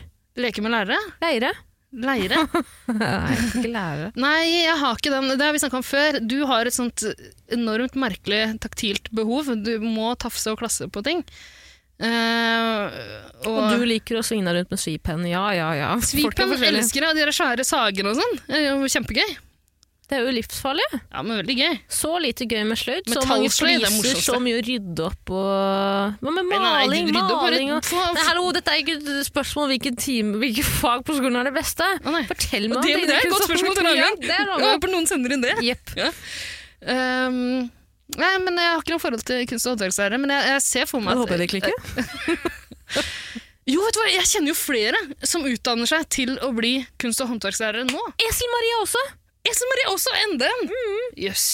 A: Leke med lærere?
B: Leire?
A: Leire?
B: Nei, ikke lære.
A: Nei, jeg har ikke den. Det har vi snakka om før. Du har et sånt enormt merkelig taktilt behov. Du må tafse og klasse på ting. Eh, og
B: Og du liker å svinge deg rundt med svipenn. Ja, ja, ja. Folk er
A: Svipen
B: forskjellige.
A: elsker jeg, de der svære sagene og sånn. Det er jo Kjempegøy.
B: Det er jo livsfarlig.
A: Ja, men veldig gøy.
B: Så lite gøy med sløyd, så mange
A: Metallsløyd er det
B: fliser,
A: morsomste.
B: så mye å rydde opp og Hva med maling?
A: rydde opp, bare
B: maling og
A: få-
B: Nei, hallo, dette er ikke et spørsmål om hvilken time, hvilke fag på skolen er det beste.
A: Å, nei.
B: Fortell meg
A: Og
B: om
A: det, men det er et godt
B: dine
A: spørsmål til en
B: kunnskaper.
A: annen
B: Ja, sånn det er en
A: gang. Jeg
B: annen gang.
A: håper noen sender inn det.
B: Jepp.
A: Ehm, nei, men Jeg har ikke noe forhold til kunst- og håndverkslære, men jeg, jeg ser for meg
B: Da
A: at
B: håper jeg det klikker.
A: Jo, vet du hva, jeg kjenner jo flere som utdanner seg til å bli kunst- og håndverkslærere nå.
B: Esel Maria også!
A: Esel Marie også enda en! Jøss.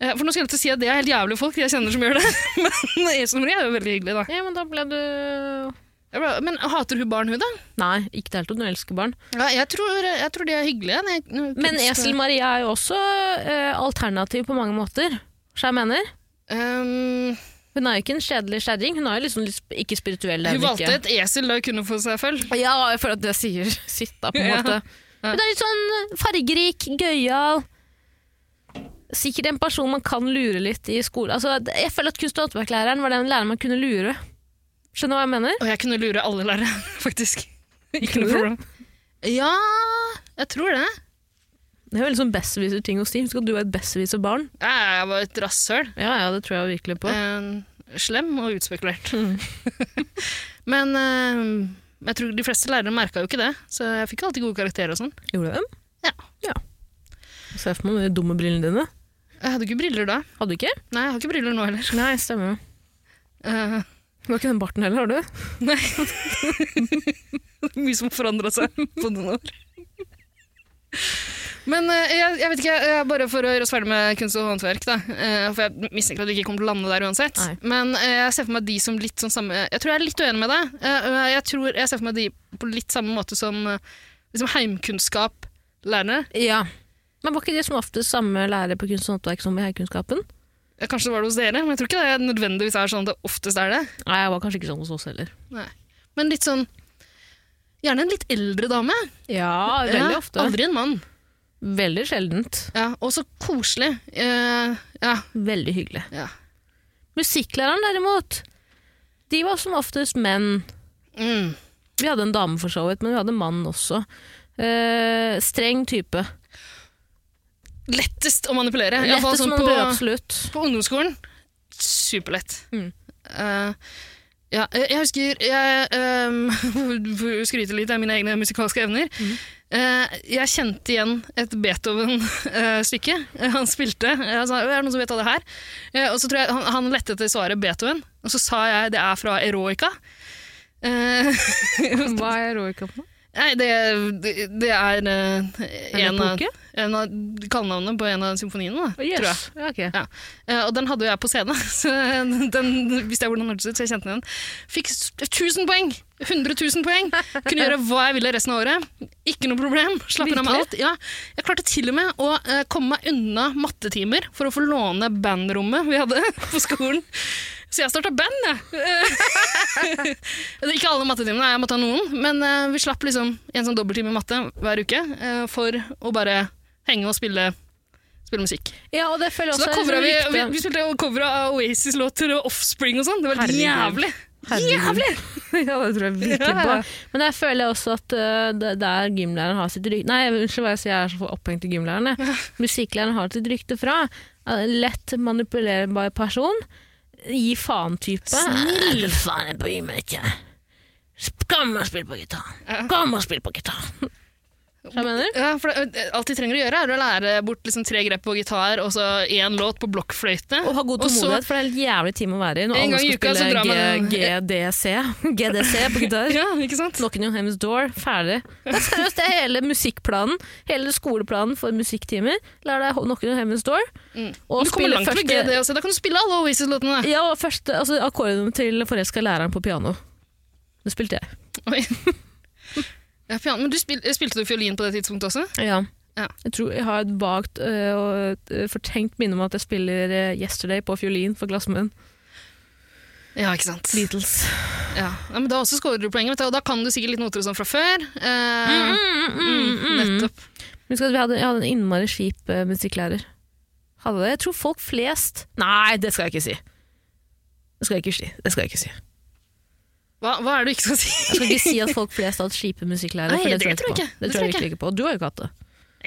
A: Eh, For nå skal jeg ikke si at det er helt jævlige folk jeg kjenner som gjør det, men Esel Marie er jo veldig hyggelig, da.
B: Ja, men da ble du
A: Jeg ble- Men hater hun barn, hun, da?
B: Nei, ikke delt opp, hun elsker barn.
A: Ja, jeg, tror, jeg tror de er hyggelige. det er kunst-
B: Men Esel Maria er jo også eh, alternativ på mange måter. Så jeg mener.
A: Ehm,
B: Hun er jo ikke en kjedelig kjerring. Hun er jo liksom litt sp- ikke spirituell. det er
A: hun
B: hun ikke.
A: valgte et esel da hun kunne få seg følg.
B: Ja, jeg føler at det sier sitt, da, på en
A: Ja.
B: måte. Hun er litt sånn fargerik, gøyal. Sikkert en person man kan lure litt i skolen. Altså, det- jeg føler at kunst- og håndverklæreren var den læreren man kunne lure. Skjønner du hva jeg mener?
A: Og jeg kunne lure alle lærere, faktisk. Ikke noe
B: Tror du?
A: problem. Ja, jeg tror det.
B: Det er jo veldig sånn besserwisser-ting å si. Husk at du er et besserwisser-barn.
A: Jeg jeg var et rasshøl.
B: Ja, ja, det tror jeg virkelig på. Mm.
A: Eh, slem og utspekulert. Men eh, jeg tror de fleste lærere merka jo ikke det, så jeg fikk alltid gode karakterer og sånn.
B: Gjorde du dem?
A: Ja.
B: ja. Se for meg de dumme brillene dine.
A: Jeg hadde ikke briller da.
B: Hadde du ikke?
A: Nei, jeg har ikke briller nå heller.
B: Nei, stemmer.
A: Eh,
B: Du har ikke den barten heller, har du?
A: mye som forandra seg på noen år. Men eh, jeg, jeg vet ikke, jeg, bare for å gjøre oss ferdig med kunst og håndverk, da, eh, for jeg mistenker at vi ikke kommer til å lande der uansett.
B: Nei.
A: Men eh, jeg ser for meg de som litt sånn samme Jeg tror jeg er litt uenig med deg. Eh, jeg tror jeg ser for meg de på litt samme måte som eh, liksom heimkunnskap-lærerne.
B: Ja. Men var ikke de som oftest samme lærer på kunst og håndverk som i heikunnskapen?
A: Ja, Kanskje det var det hos dere, men jeg tror ikke det er nødvendigvis er sånn at det oftest er det.
B: Nei, jeg var kanskje ikke sånn hos oss heller.
A: Nei. Men litt sånn Gjerne en litt eldre dame.
B: Ja, veldig
A: Ja,
B: ofte.
A: Aldri en mann.
B: Veldig sjeldent.
A: Ja, og så koselig. Eh, ja,
B: Veldig hyggelig.
A: ja.
B: Musikklæreren derimot, de var som oftest menn.
A: Mm.
B: Vi hadde en dame for så vidt, men vi hadde en mann også. Eh, streng type.
A: Lettest å manipulere. I hvert fall
B: Lettest
A: sånn
B: man bør
A: på,
B: absolutt.
A: på ungdomsskolen. Superlett.
B: Mm.
A: Eh, ja, eh, jeg husker Jeg um, skryter litt av mine egne musikalske evner. Eh, jeg kjente igjen et Beethoven-stykke Eh, han spilte. Jeg sa, er det noen som vet av det her? Eh, og så tror jeg han, han lette etter svaret Beethoven, og så sa jeg det er fra Eroica. Eh,
B: Hva er Roika på?
A: nei, det, det, det er eh, en, av, en av kallenavnet på en av symfoniene, da, tror jeg.
B: Yes. Ja, ok.
A: Ja. Eh, og den hadde jo jeg på scenen, så den visste jeg hvordan den hørtes ut, så jeg kjente den igjen. Fikk s- 1000 poeng! 100 000 poeng! Kunne gjøre hva jeg ville resten av året. Ikke noe problem. Slapp unna med alt. Ja, jeg klarte til og med å eh, komme meg unna mattetimer for å få låne bandrommet vi hadde på skolen. Så jeg starta band, jeg. Eh, Ikke alle mattetimene, jeg måtte ha noen. Men eh, vi slapp liksom en sånn dobbelttime matte hver uke eh, for å bare henge og spille, spille musikk.
B: ja, og det føler jeg
A: Så da
B: også
A: covra vi,
B: riktig.
A: vi, vi spilte cover av Oasis-låter og Offspring og sånn. Det var helt
B: Herregud.
A: jævlig.
B: Herregud.
A: Jævlig!
B: ja, det tror jeg virkelig
A: Ja,
B: på.
A: ja.
B: Men jeg føler også at øh, det- der gymlæreren har sitt rykte Nei, unnskyld hva jeg sier, jeg er så opphengt i gymlæreren. jeg. Musikklæreren har sitt rykte fra. Eh, Lett manipulerbar person. Gi faen-type. Snill faen, jeg bryr meg ikke. Kom og spill på gitar. Kom og spill på gitar. Hva mener du?
A: Ja, for det, alt de trenger å gjøre, er å lære bort liksom tre grep på gitar og så én låt på blokkfløyte.
B: Å ha god
A: Og så-
B: tålmodighet, for det er en jævlig time å være i når
A: En
B: alle
A: gang i
B: skal
A: uka så
B: spille
A: drar man-
B: G- GDC. GDC på gitar.
A: Ja, ikke sant?
B: Knocking on Heaven's Door, ferdig. Det er seriøst, det er hele musikkplanen, hele skoleplanen for musikktimer. Lær deg Knocking on Heaven's Door. Og
A: Mm. Du kommer
B: spille
A: langt med
B: første-
A: GD også. Da kan du spille alle Oasis-låtene.
B: Ja, og første, altså akkorden til forelska læreren på piano. Det spilte jeg.
A: Oi. Ja, piano. Men du spil, spilte du fiolin på det tidspunktet også?
B: Ja.
A: Ja.
B: Jeg tror jeg har et vagt øh, og et øh, fortenkt minne om at jeg spiller øh, 'Yesterday' på fiolin for glassmenn.
A: Ja, ikke sant.
B: Beatles.
A: Ja. Ja, men da også scorer du poeng, vet du. og da kan du sikkert litt noter og sånn fra før. Eh, mm, nettopp.
B: Husk at vi hadde, jeg hadde en innmari skip eh, musikklærer. Hadde det? Jeg tror folk flest Nei, det skal jeg ikke si. Det skal jeg ikke si. Det skal jeg ikke si.
A: Hva, hva er det du ikke skal si?
B: Jeg skal ikke si at folk flest har hatt skipe musikklærere.
A: Nei,
B: for
A: det tror jeg
B: på.
A: ikke.
B: Det tror jeg virkelig ikke på. Og Du har jo ikke hatt det.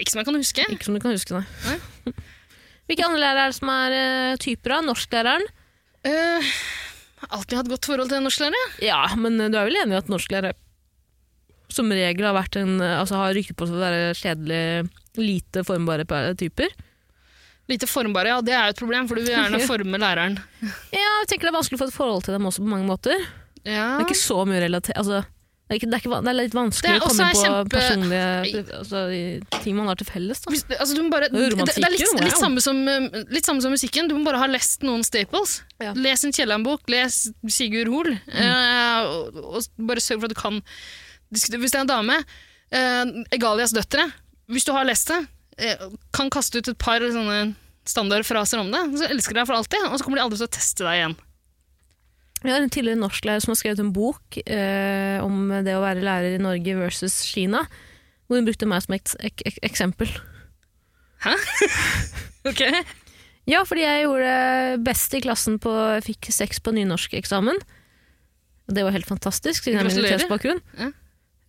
A: Ikke som jeg kan huske.
B: Ikke som du kan huske, nei.
A: Nei.
B: Hvilke andre lærere er det som er eh, typer av? Norsklæreren?
A: Uh, alltid hatt godt forhold til norsklærere.
B: Ja, men eh, du er vel enig i at norsklærere som regel har, vært en, eh, altså har rykte på seg å være kjedelige, lite formbare pe- typer?
A: Lite formbare, ja, det er jo et problem, for du vil gjerne forme læreren.
B: Ja, jeg tenker det er vanskelig å få et forhold til dem også på mange måter.
A: Ja.
B: Det er ikke så mye relater... Altså, det, er ikke, det, er ikke, van- det er litt vanskelig
A: Det er
B: å komme inn på
A: også
B: personlige altså, i- ting man har til felles. Da.
A: Hvis- altså, du må bare,
B: Det er
A: det,
B: jo
A: det er litt,
B: romantikken, wow.
A: litt, samme som, eh, litt samme som musikken. Du må bare ha lest noen staples.
B: Ja.
A: Les en Kielland-bok, les Sigurd Hoel. eh, og, og bare sørg for at du kan diskutere. Hvis det er en dame, eh, Egalias døtre. Hvis du har lest det, eh, kan kaste ut et par sånne standardfraser om det, så elsker de deg for alltid, og så kommer de aldri til å teste deg igjen.
B: Vi har en tidligere norsklærer som har skrevet en bok eh, om det å være lærer i Norge versus Kina, hvor hun brukte meg som eks ek ek eksempel.
A: Ok?
B: Ja, fordi jeg gjorde best i klassen på Jeg fikk seks på nynorskeksamen. Og Det var helt fantastisk, siden jeg har
A: Gratulerer.
B: minoritetsbakgrunn.
A: Ja.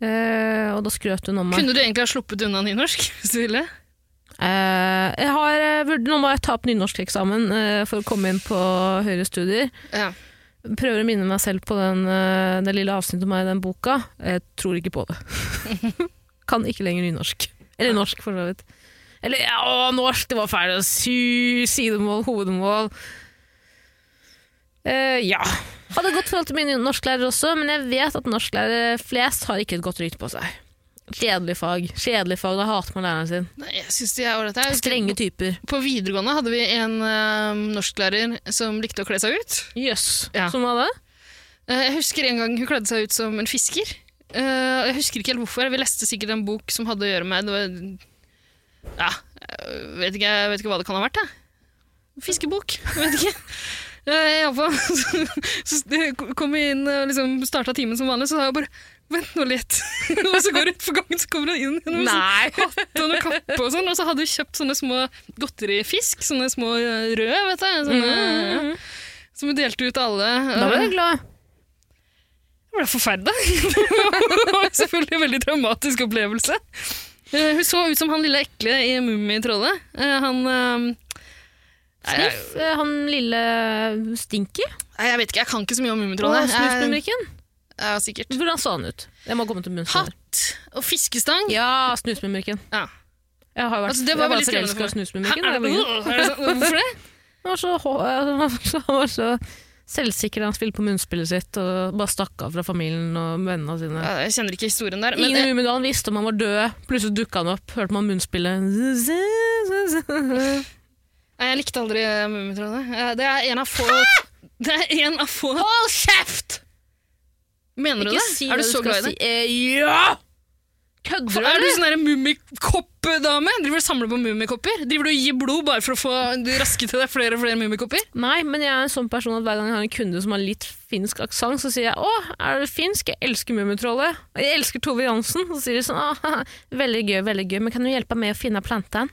B: Eh, og da skrøt hun om meg.
A: Kunne du egentlig ha sluppet unna nynorsk, hvis du ville?
B: Eh, jeg har, eh, vurd- nå må jeg ta opp nynorskeksamen eh, for å komme inn på høyere studier.
A: Ja.
B: Prøver å minne meg selv på den, eh, det lille avsnittet om meg i den boka. Jeg tror ikke på det. kan ikke lenger nynorsk. Eller norsk, for så vidt. Eller ja, å, norsk, det var feil. Sy, sidemål, hovedmål. Eh, ja. Hadde godt forhold til mine norsklærere også, men jeg vet at norsklærere flest har ikke et godt rykte på seg. Kjedelig fag. Kjedelig fag, Da hater man læreren sin.
A: Nei, jeg synes de er ålreite. Jeg husker-
B: Strenge typer.
A: På videregående hadde vi en eh, norsklærer som likte å kle seg ut.
B: Jøss.
A: Ja.
B: Som var det?
A: Eh, jeg husker en gang hun kledde seg ut som en fisker. Eh, og jeg husker ikke helt hvorfor. Vi leste sikkert en bok som hadde å gjøre med det var, Ja, jeg vet ikke, jeg vet ikke hva det kan ha vært. Jeg. Fiskebok. Jeg vet ikke. Eh, i alle fall, så, så det kom vi inn og liksom starta timen som vanlig, så sa jeg bare Vent nå litt. og så går jeg ut for gangen, så kommer hun inn med sånn
B: Nei!
A: hatt og noe kappe og sånn. Og så hadde hun kjøpt sånne små godterifisk, sånne små eh, røde, vet du. Sånne, Som hun delte ut til alle.
B: Mm. Da var jeg
A: jeg
B: glad.
A: ble forferda. det var selvfølgelig en veldig traumatisk opplevelse. Eh, Hun så ut som han lille ekle i Mummitrollet. Eh, Han eh, Nei, jeg,
B: Sniff, eh, han lille eh, Stinky
A: nei, jeg vet ikke, jeg kan ikke så mye om
B: på
A: Mummitrollet. Jeg-
B: Snusmumrikken.
A: Ja, sikkert.
B: Hvordan så han ut? Jeg må komme til bunns i det.
A: Hatt og fiskestang.
B: Ja, Snusmumrikken.
A: Ja.
B: Jeg har jo vært,
A: Altså, det var
B: jeg var
A: veldig skremmende
B: forelska i
A: for
B: Snusmumrikken. da jeg
A: Er det,
B: var yngre.
A: er det, sånn- hvorfor det?
B: Han var så, hå- eh, han var så, han var så selvsikker da han spilte på munnspillet sitt og bare stakk av fra familien og vennene sine.
A: Ja, Jeg kjenner ikke historien der. Men
B: Ingen i Mummidalen visste om han var død. Plutselig dukka han opp, hørte man munnspillet
A: Nei, jeg likte aldri eh, Mummitrollet. Eh, Det er en av få Det er en av få
B: Hold kjeft!
A: Mener du det?
B: Ikke si
A: er
B: hva
A: du så
B: skal
A: glad i det?
B: si. Eh, ja! Kødder du,
A: er du
B: eller?
A: sånn der mummikoppdame? Driver du og samler på mummikopper? Driver du og gir blod bare for å få raske til deg flere og flere mummikopper?
B: Nei, men jeg er en sånn person at hver gang jeg har en kunde som har litt finsk aksent, så sier jeg 'Å, er du finsk? Jeg elsker Mummitrollet'. Og Jeg elsker Tove Jansen. Så sier de sånn 'Å, haha, veldig gøy, veldig gøy, men kan du hjelpe meg å finne planten?'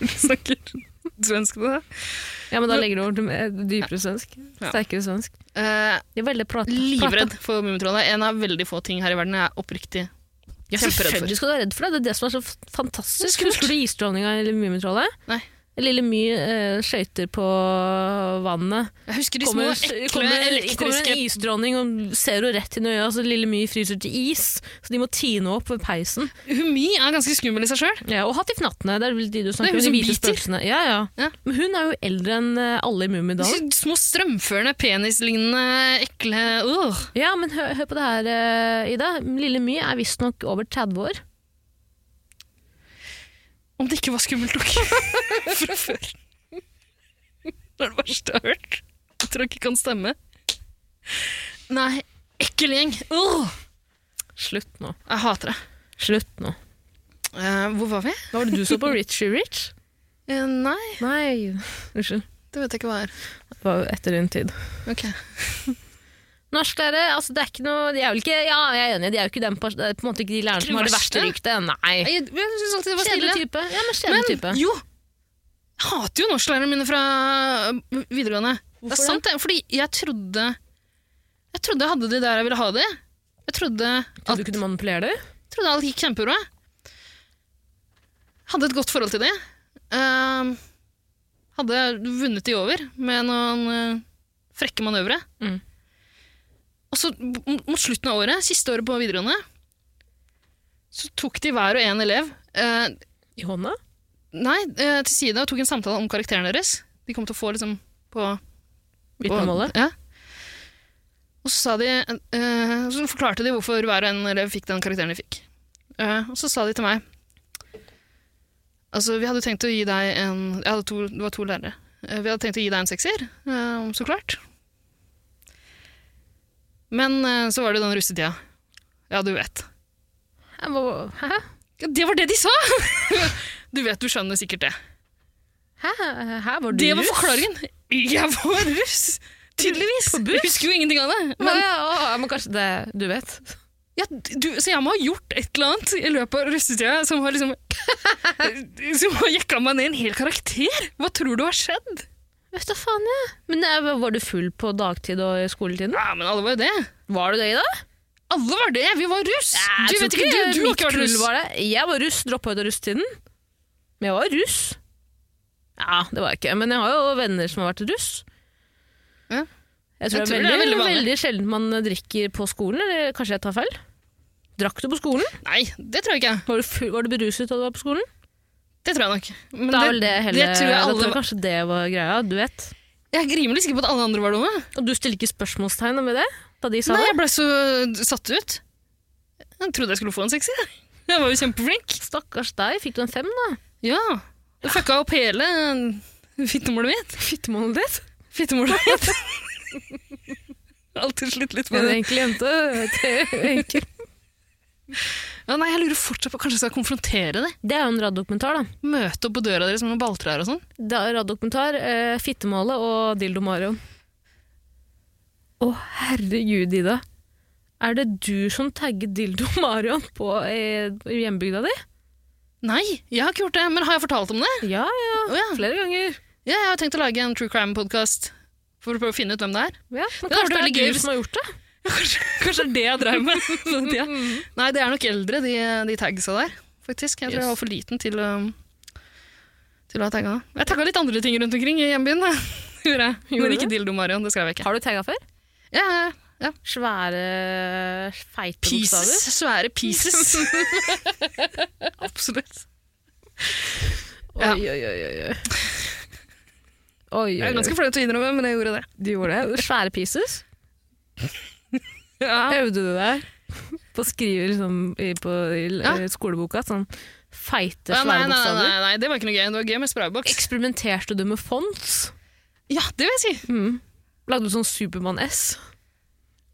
A: Snakker svensk på det?
B: Ja, men da legger du over til mer- dypere svensk.
A: Ja.
B: Sterkere svensk.
A: Eh,
B: De er veldig prata.
A: livredd for mummitrollet. En av veldig få ting her i verden jeg er oppriktig
B: Ja,
A: kjemperedd for.
B: selvfølgelig skal du være redd for det. Det er det som er så f- fantastisk.
A: Det er skummelt.
B: Husker du isdronninga eller Mummitrollet?
A: Nei.
B: Lille My eh, skøyter på vannet.
A: Jeg husker de små eh,
B: kommer,
A: ekle
B: kommer, kommer
A: elektriske
B: en isdronning og ser henne rett inn i øya, så lille My fryser til is. Så de må tine opp ved peisen.
A: Humi er ganske skummel i seg sjøl.
B: Ja, og Hattifnattene, det er vel de du
A: Det er
B: snakker
A: hun
B: om. De
A: som
B: hvite
A: biter.
B: spøkelsene. Ja, ja.
A: Ja.
B: Men hun er jo eldre enn eh, alle i Mummidalen.
A: Små strømførende, penislignende, ekle øh.
B: Ja, men hør, hør på det her, eh, Ida. Lille My er visstnok over 30 år.
A: Om det ikke var skummelt nok fra før. Det er det verste jeg har hørt. Jeg tror ikke det kan stemme. Nei, ekkel gjeng. Åh,
B: Slutt nå.
A: jeg hater det.
B: Slutt nå.
A: Eh, hvor var vi?
B: Hva var det du så på Richie Rich?
A: Eh, nei,
B: Nei, unnskyld.
A: det vet jeg ikke hva er.
B: Det var jo etter din tid.
A: Ok.
B: Norsklærere, altså det er ikke noe De er vel ikke, ja, jeg er enig, de er jo ikke den, pers- det er på en måte ikke de lærerne
A: Ikke de
B: som har det verste ryktet. Nei.
A: Jeg, jeg synes alltid det var
B: Kjedelig
A: stille.
B: type. Ja, men kjedelig type.
A: Men jo, jeg hater jo norsklærerne mine fra øh, videregående. det
B: det?
A: er sant, det. Fordi jeg trodde Jeg trodde jeg hadde de der jeg ville ha de. Jeg trodde
B: At du kunne manipulere det?
A: trodde alt gikk kjempebra. Hadde et godt forhold til de. Ehm, hadde vunnet de over med noen eh, frekke manøvre.
B: Mm.
A: Og så m- mot slutten av året, siste året på videregående, så tok de hver og en elev eh,
B: I hånda?
A: Nei, eh, til side og tok en samtale om karakteren deres. De kom til å få liksom på
B: Vitnemålet?
A: på- Ja. Og så, sa de, eh, så forklarte de hvorfor hver og en elev fikk den karakteren de fikk. Eh, og så sa de til meg Altså, vi hadde tenkt å gi deg en Jeg hadde to, det var to lærere. Eh, vi hadde tenkt å gi deg en sekser, eh, så klart. Men eh, så var det den russetida. Ja, du vet.
B: Jeg må, hæ?
A: Ja, det var det de sa! du vet, du skjønner sikkert det.
B: Hæ? Hæ? Var du
A: Det var
B: russ?
A: forklaringen. Jeg var russ! Tydeligvis. Jeg husker jo ingenting av det.
B: Å,
A: Men,
B: ja, å, ja, men kanskje det Du vet.
A: ja, du, så jeg må ha gjort et eller annet i løpet av russetida som har liksom Som har jekka meg ned en hel karakter! Hva tror du har skjedd?
B: Vet da faen, jeg. Men eh, var du full på dagtid og i skoletiden?
A: Ja, men alle var jo det.
B: Var du det i dag?
A: Alle var det! Vi var russ! du vet ikke, du, du har ikke vært russ.
B: eh, Var det. Jeg var russ, droppa ut av russetiden. Men jeg var russ. Ja, det var jeg ikke. Men jeg har jo venner som har vært russ.
A: Ja.
B: Jeg tror, det er veldig, veldig, sjelden man drikker på skolen, eller kanskje jeg tar feil? Drakk du på skolen?
A: Nei, det tror jeg ikke.
B: Var du, full, var du beruset da du var på skolen?
A: Det tror jeg nok. Men
B: Da er vel det hele
A: det tror jeg
B: da
A: alle
B: tror jeg kanskje det var greia, du vet.
A: Jeg er rimelig sikker på at alle andre var dumme.
B: Og du stilte ikke spørsmålstegn med det? Da de sa
A: Nei,
B: det?
A: jeg ble så satt ut. Jeg trodde jeg skulle få en sekser. jeg. Jeg var jo kjempeflink.
B: Stakkars deg, fikk du en fem da?
A: Ja. Det fucka opp hele fittemålet mitt.
B: Fittemålet ditt?
A: Fittemålet mitt. Alltid slitt litt med
B: En
A: det.
B: enkel jente. Enkel.
A: Ja, nei, jeg lurer fortsatt på Kanskje jeg skal konfrontere det?
B: Det er jo en raddokumentar, da.
A: Møte opp på døra deres med noen balltrær og sånn?
B: Det er raddokumentar, eh, Fittemålet og Dildo Marion. Å, herregud, Ida. Er det du som tagget Dildo Marion på eh, hjembygda di?
A: Nei, jeg har ikke gjort det. Men har jeg fortalt om det?
B: Ja, ja.
A: Å ja.
B: Flere ganger.
A: ja, jeg har tenkt å lage en true crime-podkast for å prøve å finne ut hvem det er.
B: Ja, men
A: Det hadde
B: kanskje
A: vært
B: det
A: veldig
B: er
A: gøy
B: du
A: hvis-
B: som har gjort det?
A: Kanskje, kanskje det er det jeg drev med på
B: sånn
A: den tida. Nei, det er nok eldre, de, de tagsa der. Faktisk. Jeg tror jeg
B: Yes.
A: var for liten til å, til å ha tagga. Jeg tagga litt andre ting rundt omkring i hjembyen. da. Gjorde jeg.
B: Gjorde
A: Men
B: du?
A: ikke Dildo Marion, det skrev jeg ikke.
B: Har du tagga før?
A: Ja, ja, ja.
B: Svære, feite
A: Pieces.
B: bokstaver.
A: Svære pieces. Absolutt. Ja.
B: Oi, oi, oi, oi, oi. Oi,
A: Det
B: oi,
A: er
B: oi.
A: ganske flaut å innrømme, men jeg gjorde det.
B: Du gjorde det. Svære pieces.
A: Ja.
B: Øvde du deg på å skrive liksom, i, på, i l-
A: Ja.
B: i skoleboka sånn feite, svære
A: Ja, nei, nei, nei,
B: bokstaver?
A: nei, nei, det var ikke noe gøy. Det var gøy med sprayboks.
B: Eksperimenterte du med fonts?
A: Ja, det vil jeg si.
B: Mm. Lagde du sånn Supermann-S?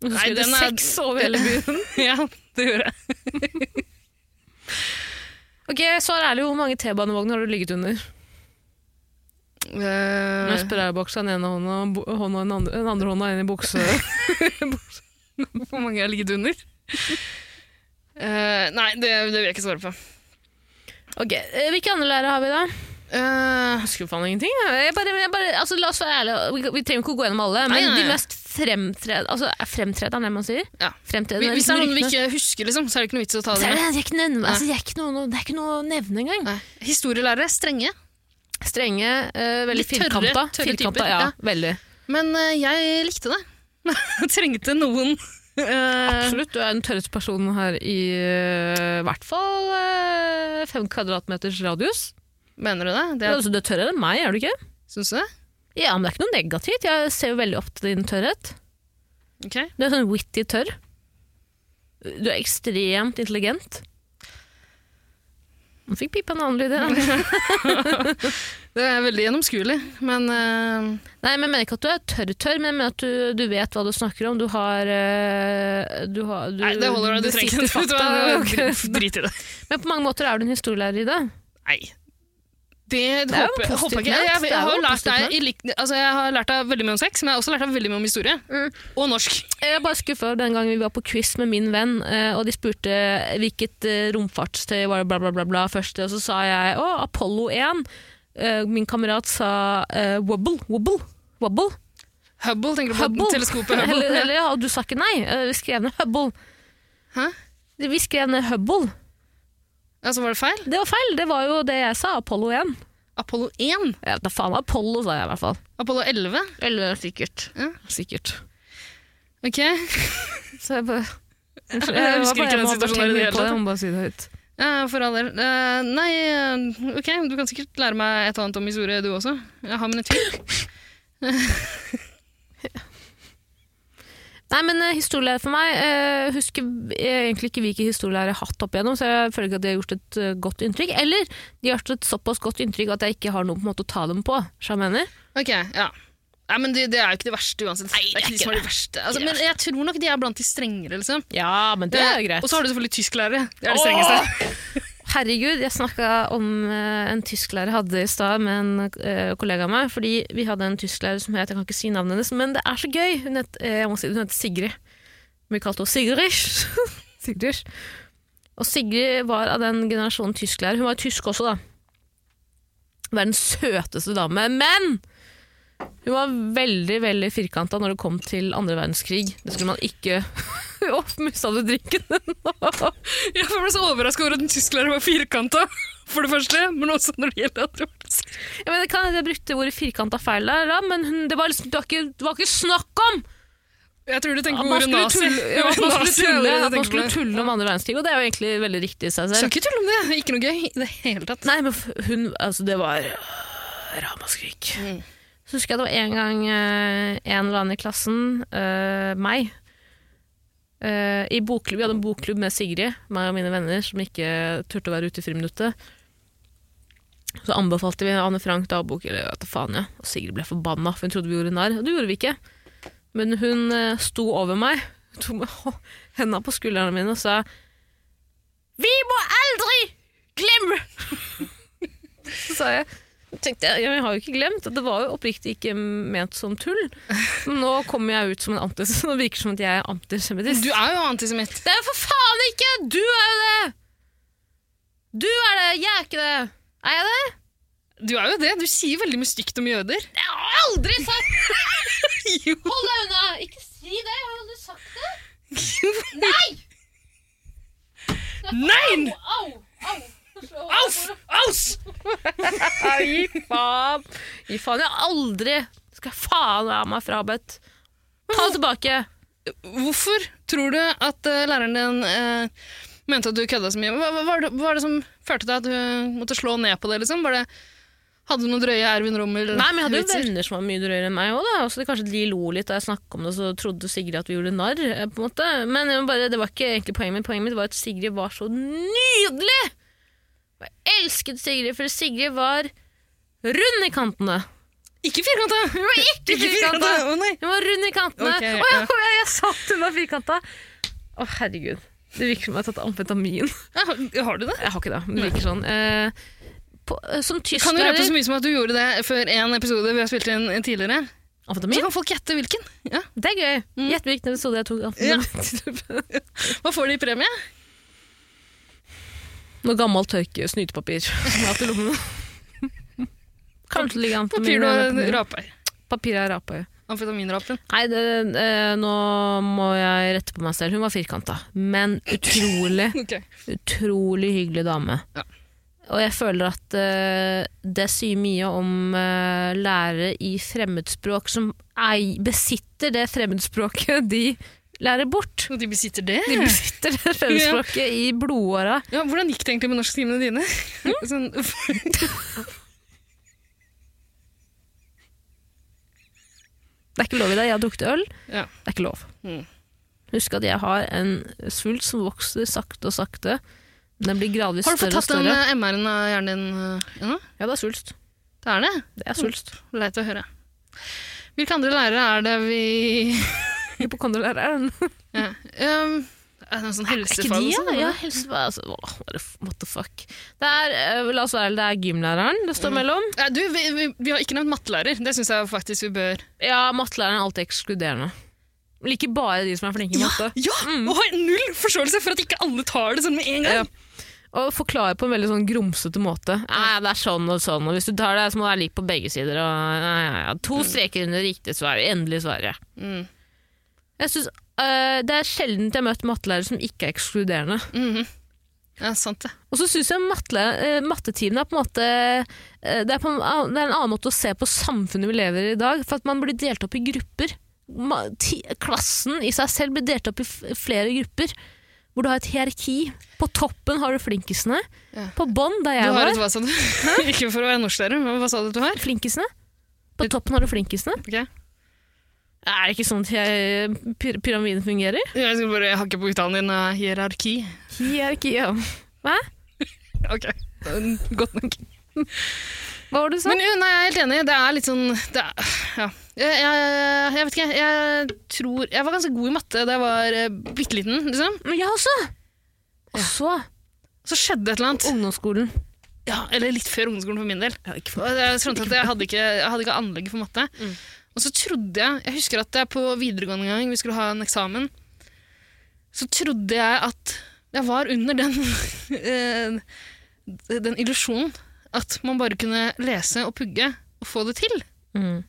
B: Og så
A: Nei,
B: skrev du
A: den er-
B: seks over hele byen.
A: Ja, det gjorde jeg.
B: Ok, Svar ærlig, hvor mange T-banevogner har du ligget under? Med
A: Eh,
B: sprayboks i den ene hånda og bo- hånda i den andre, den andre hånda inn i bukse.
A: Eh, Hvor mange jeg har ligget under? Eh, nei, det, det vil jeg ikke svare på.
B: Ok, eh, Hvilke andre lærere har vi, da?
A: Eh,
B: Jeg husker faen ingenting. jeg. Jeg bare, jeg bare, altså, la oss være ærlige. Vi, vi trenger ikke å gå gjennom alle, men
A: Nei, nei, nei.
B: de mest fremtredende altså, er Fremtredende, er det man sier?
A: Ja.
B: Fremtredende,
A: Hvis hvis det
B: liksom
A: er noen vi
B: ryktene.
A: ikke husker, liksom, så er det ikke noe vits i å ta
B: Så
A: det
B: er
A: med.
B: det, det, er ikke nevne, altså, det, er ikke noe, det er ikke noe å nevne engang.
A: Nei. Historielærere strenge.
B: Strenge, eh, veldig
A: Litt tørre-
B: firkanta.
A: tørre
B: firkanta
A: typer,
B: ja,
A: ja.
B: veldig.
A: Men eh, jeg likte det. Jeg Trengte noen eh,
B: Absolutt, du er den tørreste personen her i eh, hvert fall eh, fem kvadratmeters radius.
A: Mener du det? det
B: Ja.
A: er,
B: Altså, du er tørrere enn meg, er du ikke?
A: syns du det?
B: Ja, men det er ikke noe negativt. Jeg ser jo veldig opp til din tørrhet.
A: Ok.
B: Du er sånn witty tørr. Du er ekstremt intelligent. Nå fikk pipa en annen lyd. Ja.
A: Det er veldig gjennomskuelig, men eh,
B: Nei, men jeg mener ikke at du er tørr-tørr, men jeg mener at du, du vet hva du snakker om. Du har eh, Du har du,
A: Nei, det holder. Du, du
B: sitter
A: trenger ikke vet du
B: fakta.
A: hva,
B: Ok.
A: drit- Drit i det.
B: Men på mange måter er du en historielærer i det.
A: Nei. Det,
B: jo
A: håper,
B: positivt
A: håper jeg ikke.
B: ment.
A: Jeg, jeg,
B: Det er
A: jeg, har
B: jo
A: jo lært
B: positivt
A: deg, i lik- altså, jeg har lært deg veldig mye om sex, men jeg har også lært deg veldig mye om historie.
B: Mm.
A: Og norsk.
B: Jeg er bare skuffa den gangen vi var på quiz med min venn, eh, og de spurte hvilket eh, romfartstøy var det bla, bla, bla, bla først, og så sa jeg å, Apollo 1. Eh, Min kamerat sa eh, wobble, wobble, wobble.
A: Hubble, tenker du på
B: Hubble.
A: teleskopet Hubble?
B: Eller, eller, ja, og du sa ikke nei. Eh, Vi skrev ned Hubble.
A: Hæ?
B: Vi skrev ned Hubble.
A: Ja, så Altså, var det feil.
B: Det var feil, det var jo det jeg sa. Apollo 1.
A: Apollo 1.
B: Ja, da faen Apollo, sa jeg i hvert fall.
A: Apollo 11.
B: Eller sikkert.
A: Ja.
B: Sikkert.
A: Ok.
B: Så jeg bare Unnskyld,
A: Jeg
B: var
A: husker
B: bare
A: ikke den
B: hjemme og bare
A: situasjonen i det
B: tenkte
A: hele
B: på
A: tatt.
B: Jeg må bare si det høyt.
A: Ja, for all del. Eh, nei, eh, ok, du kan sikkert lære meg et og annet om historie, du også. Jeg har mine tvil.
B: Nei, men eh, historielærer for meg eh, Husker eh, egentlig ikke hvilke historielærer jeg har hatt opp igjennom, så jeg føler ikke at de har gjort et eh, godt inntrykk. Eller de har gjort et såpass godt inntrykk at jeg ikke har noe på en måte å ta dem på. skjønner du hva jeg mener.
A: Ok, ja. Nei, men det, det er jo ikke det verste uansett. Nei, det er ikke de som er de verste. Altså, men jeg tror nok de er blant de strengere, liksom.
B: Ja, men
A: Og så har du selvfølgelig tysklærere. Det er det
B: Åh!
A: strengeste.
B: Herregud, jeg snakka om eh, en tysklærer jeg hadde i stad med en eh, kollega av meg. Fordi vi hadde en tysklærer som het Jeg kan ikke si navnet hennes, men det er så gøy! Hun het, eh, jeg må si, det, hun het Sigrid. Vi kalte henne Sigrish. Sigrish. Og Sigrid var av den generasjonen tysklærer. Hun var tysk også, da. Verdens søteste dame. Men hun var veldig veldig firkanta når det kom til andre verdenskrig. Det skulle man ikke Å, mista du drinken din nå?
A: Jeg ble så overraska over at en tysklærer var firkanta, for det første, men også når det gjelder andre verdenskrig.
B: Jeg mener, kan hende jeg brukte ordet firkanta feil der, da, men hun, det, var liksom, det, var ikke, det var ikke snakk om
A: Jeg tror du
B: at
A: tenker
B: man
A: ordet
B: skulle
A: nazi.
B: tulle, ja, at man skulle
A: Nazi er
B: tulle,
A: det du
B: at man
A: tenker på.
B: skulle tulle om andre verdenskrig, og det er jo egentlig veldig riktig i seg
A: Skal
B: selv.
A: ikke tulle om det. Ikke noe gøy i det hele tatt.
B: Nei, men f- hun Altså, det var øh, ramaskrik.
A: Mm.
B: Så husker jeg det var en gang øh, en eller annen i klassen, øh, meg øh, i bokklubb, Vi hadde en bokklubb med Sigrid, meg og mine venner, som ikke turte å være ute i friminuttet. Så anbefalte vi Anne Frank dagbok, eller vet du faen, ja. Og Sigrid ble forbanna, for hun trodde vi gjorde narr. Og det gjorde vi ikke. Men hun øh, sto over meg, tok med hå- henda på skuldrene mine og sa Vi må aldri glemme så sa jeg tenkte jeg, ja, men jeg har jo ikke glemt at det var jo oppriktig ikke ment som tull. Men nå kommer jeg ut som en antis, nå virker det som at jeg er antisemittist.
A: Du er jo antisemitt.
B: Det er jo for faen ikke! Du er jo det! Du er det, jeg er ikke det. Er jeg det?
A: Du er jo det. Du sier veldig mye stygt om jøder.
B: Det har jeg aldri sagt!
A: Jo.
B: Hold deg unna! Ikke si det, jeg har aldri sagt det.
A: Nein!
B: Au! Au!
A: Auf! Aus!
B: Gi faen. Gi faen, jeg har aldri Skal faen ha meg frabedt. Ta det tilbake.
A: Hvorfor tror du at eh, læreren din eh, mente at du kødda så mye? Hva, hva, var det, hva var det som førte deg at du måtte slå ned på det? liksom? Var det, hadde du noen drøye Ervin Rommel?
B: Nei, men jeg hadde jo
A: vitser?
B: venner som var mye drøyere enn meg òg, da. Så det kanskje de lo litt da jeg snakka om det, så trodde Sigrid at vi gjorde narr, eh, på en måte. Men jeg må bare, det var ikke egentlig poenget mitt. Poenget mitt var at Sigrid var så nydelig! Og Jeg elsket Sigrid, for Sigrid var rund i kantene.
A: Ikke firkanta!
B: Hun var ikke firkanta!
A: Å, nei.
B: Hun var rund i kantene. Å,
A: Ok,
B: jeg,
A: ja.
B: jeg, jeg sa at hun var firkanta! Å, herregud. Det virker som jeg har tatt amfetamin.
A: Ja, har- har du det?
B: Jeg har ikke det, men det virker sånn. Eh, på, eh, som
A: Kan du røpe så
B: tysklærer
A: mye som at du gjorde det før en episode vi har spilt inn tidligere? Så
B: Amfetamin?
A: kan folk gjette hvilken. Ja.
B: Det er gøy.
A: Mm.
B: Gjett hvilken episode jeg tok amfetamin.
A: Hva får de i premie?
B: Noe gammelt tørke snytepapir som jeg har hatt i lommene. Kanskje det ligger an
A: Papir du raper.
B: Papir er rapa i.
A: Amfetaminrapen.
B: Nei, det, eh, nå må jeg rette på meg selv. Hun var firkanta, men utrolig,
A: Ok.
B: utrolig hyggelig dame.
A: Ja.
B: Og jeg føler at eh, det sier mye om eh, lærere i fremmedspråk som ei, besitter det fremmedspråket de lærer bort.
A: Og de besitter det?
B: De besitter det fremmedspråket i blodåra.
A: Ja, hvordan gikk det egentlig med norsktimene dine? sånn,
B: Det er ikke lov i dag. Jeg har drukket øl.
A: Ja.
B: Det er ikke lov.
A: Mm.
B: Husk at jeg har en svulst som vokser sakte og sakte. Den blir gradvis
A: har du fått
B: større og
A: tatt den
B: større.
A: eh, MR-en av hjernen din eh, Mm. ennå?
B: Ja, det er svulst.
A: Det er det.
B: Det er svulst.
A: Leit å høre. Hvilke andre lærere er det vi
B: Hypokondolærer.
A: ja. um, Er det noen sånn
B: Er ikke
A: helsefag
B: de,
A: og
B: ja?
A: sånn?
B: ja helse, altså, åh, what the fuck. Det er, eh, la oss være ærlige, det er gymlæreren det
A: Mm.
B: står mellom.
A: Nei, du, vi, vi, vi har ikke nevnt mattelærer. Det syns jeg faktisk vi bør.
B: Ja, mattelæreren er alltid ekskluderende. Liker bare de som er flinke i matte.
A: ja! Og har null forståelse for at ikke alle tar det sånn med en gang.
B: Ja. Og forklarer på en veldig sånn grumsete måte. Nei, det er sånn og sånn, og hvis du tar det, så må det være lik på begge sider. Og, nei, ja, ja. To streker under riktig svar. Endelig svaret. eh,
A: Mm.
B: Jeg synes, øh, det er sjelden jeg har møtt mattelærere som ikke er ekskluderende.
A: Mhm. Ja, sant det.
B: Og så syns jeg matle, eh, mattetimene er på en måte eh, det er, på en, annen- det er en annen måte å se på samfunnet vi lever i i dag, for at man blir delt opp i grupper. Ma, ti, klassen i seg selv blir delt opp i f flere grupper, hvor du har et hierarki. På toppen har du flinkisene.
A: Ja.
B: På bånn, der
A: Du
B: jeg
A: har et
B: var,
A: hva sa du? Ikke for å være norsklærer, men hva sa du at du har?
B: flinkisene. På toppen har du flinkisene.
A: Ok.
B: Er det ikke sånn at jeg, pyr pyramiden fungerer?
A: Jeg skal bare hakke på uttalen din av hierarki.
B: Hierarki, ja.
A: Ok, godt nok. sånn.
B: Hva var det du sa?
A: Men jo, nei, jeg er helt enig. Det er litt sånn det er, ja. jeg, jeg, jeg vet ikke, jeg tror Jeg var ganske god i matte da jeg var eh, bitte liten, liksom.
B: Men jeg også! Og så
A: Så skjedde et eller annet.
B: ungdomsskolen.
A: Ja, eller litt før ungdomsskolen for min del.
B: ikke Mm.
A: Og Jeg skjønte at jeg hadde ikke, jeg hadde ikke anlegg for matte. Og så trodde jeg Jeg husker at jeg på videregående gang vi skulle ha en eksamen, så trodde jeg at jeg var under den eh, den illusjonen at man bare kunne lese og pugge og få det til.
B: Mm.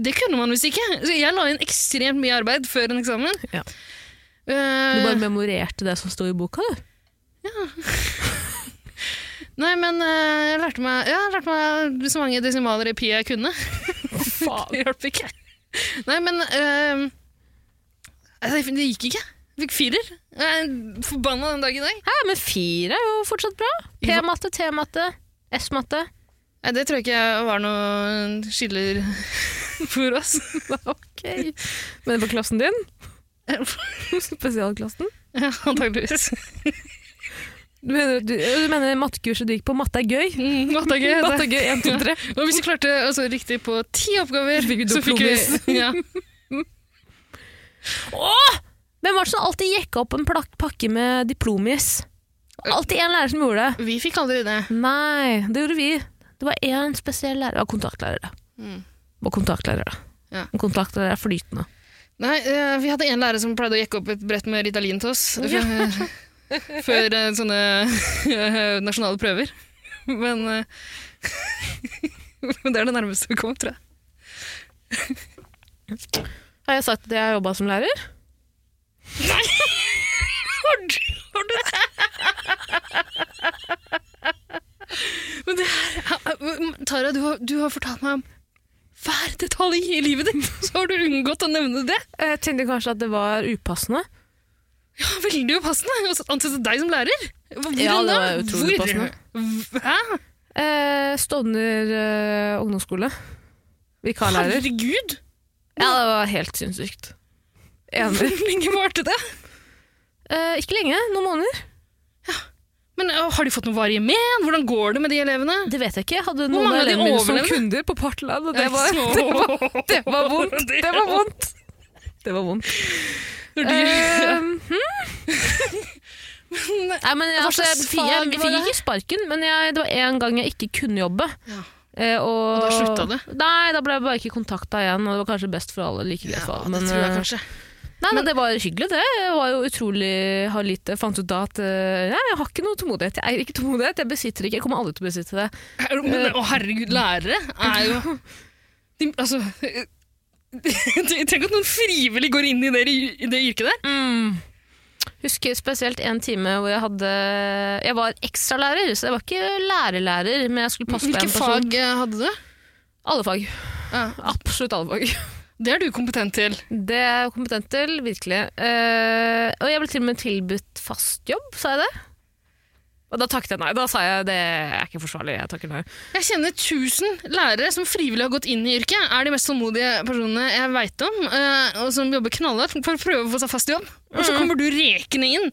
A: Det kunne man visst ikke. Så jeg la inn ekstremt mye arbeid før en eksamen.
B: Ja. Du
A: Eh,
B: bare memorerte det som sto i boka, du.
A: nei, men eh, jeg lærte meg, ja, jeg lærte meg så mange desimaler i pi jeg kunne. Det hjalp ikke. Nei, men eh, altså, Det gikk ikke. Jeg fikk firer. Jeg er forbanna den dag i dag.
B: Hæ, men fire er jo fortsatt bra. P-matte, T-matte, S-matte.
A: Nei, det tror jeg ikke var noen skiller for oss.
B: Ok. Men på klassen din?
A: Ja.
B: Spesialklassen?
A: Ja, Antakeligvis.
B: Du mener, du, du mener mattekurset du gikk på, matte er gøy?
A: Mm, matte er gøy, det.
B: Matte er gøy, 1, 2, 3.
A: Og hvis vi klarte altså, riktig på ti oppgaver,
B: Fikk vi
A: så fikk
B: diplomis.
A: vi ja.
B: Hvem var det som alltid jekka opp en plak pakke med diplomis? Alltid én lærer som gjorde det.
A: Vi fikk aldri det.
B: Nei, det gjorde vi. Det var én spesiell lærer. Det var kontaktlærer, da.
A: Mm.
B: Det var kontaktlærer, da.
A: Ja.
B: En Kontaktlærer er flytende.
A: Nei, eh, Vi hadde en lærer som pleide å jekke opp et brett med Ritalin til oss
B: Ja.
A: før, før eh, sånne eh, nasjonale prøver. Men, eh, men det er det nærmeste vi kom, tror jeg.
B: Har jeg sagt at jeg har jobba som lærer?
A: Men det her, eh, Tara, du har, du har fortalt meg om hver detalj i livet ditt, så har du unngått å nevne det.
B: Jeg Eh, tenkte kanskje at det var upassende.
A: Ja, Veldig upassende å ansette deg som lærer. Hvor
B: Ja, det
A: da?
B: var utrolig
A: Hvor?
B: passende.
A: Hæ?
B: Eh, Stovner eh, ungdomsskole. Vikarlærer.
A: Herregud!
B: Ja, det var helt sinnssykt. Enig.
A: Hvor lenge varte det?
B: Eh, ikke lenge, noen måneder.
A: Men ø, har de fått noe varige men? Hvordan går det med de elevene?
B: Det vet jeg ikke. Jeg hadde noen
A: mange
B: av
A: av de
B: elevene mine som
A: overlevde?
B: kunder på Partland, og det
A: Nei,
B: var,
A: så-
B: det var, det var vondt. Det var vondt. Det var vondt.
A: Når de-
B: Eh, hm? Nei, men jeg,
A: Hva
B: altså, jeg,
A: slags
B: fikk- jeg,
A: fag var
B: fikk
A: det?
B: ikke sparken, men jeg, det var en gang jeg ikke kunne jobbe.
A: Ja.
B: Eh, og,
A: Og da slutta du?
B: Nei, da ble jeg bare ikke kontakta igjen, og det var kanskje best for alle. like greit for
A: Ja,
B: alle.
A: det
B: men,
A: tror jeg
B: eh,
A: kanskje.
B: Nei, men det var hyggelig det. Jeg var jo utrolig har lite. Jeg fant ut da at eh, nei, jeg har ikke noe tålmodighet. Jeg eier ikke tålmodighet. Jeg besitter ikke. Jeg kommer aldri til å besitte det.
A: Er du- Men, å herregud, lærere er jo de, Altså ø, Tenk at noen frivillig går inn i det, i det yrket der.
B: Mm. Husker spesielt en time hvor jeg hadde Jeg var ekstralærer, så jeg var ikke lærerlærer, men jeg skulle passe på
A: Hvilke
B: en person.
A: fag ø, hadde du?
B: Alle fag.
A: Ja.
B: Absolutt alle fag.
A: Det er du kompetent til.
B: Det er jeg kompetent til, virkelig. Eh, og jeg ble til og med tilbudt fast jobb, sa jeg det? Og da takket jeg nei. Da sa jeg det er ikke forsvarlig, jeg takker nei.
A: Jeg kjenner 1000 lærere som frivillig har gått inn i yrket. Er de mest tålmodige personene jeg veit om, ø, og som jobber knallhardt for å prøve å få seg fast jobb. Og så kommer du rekende inn.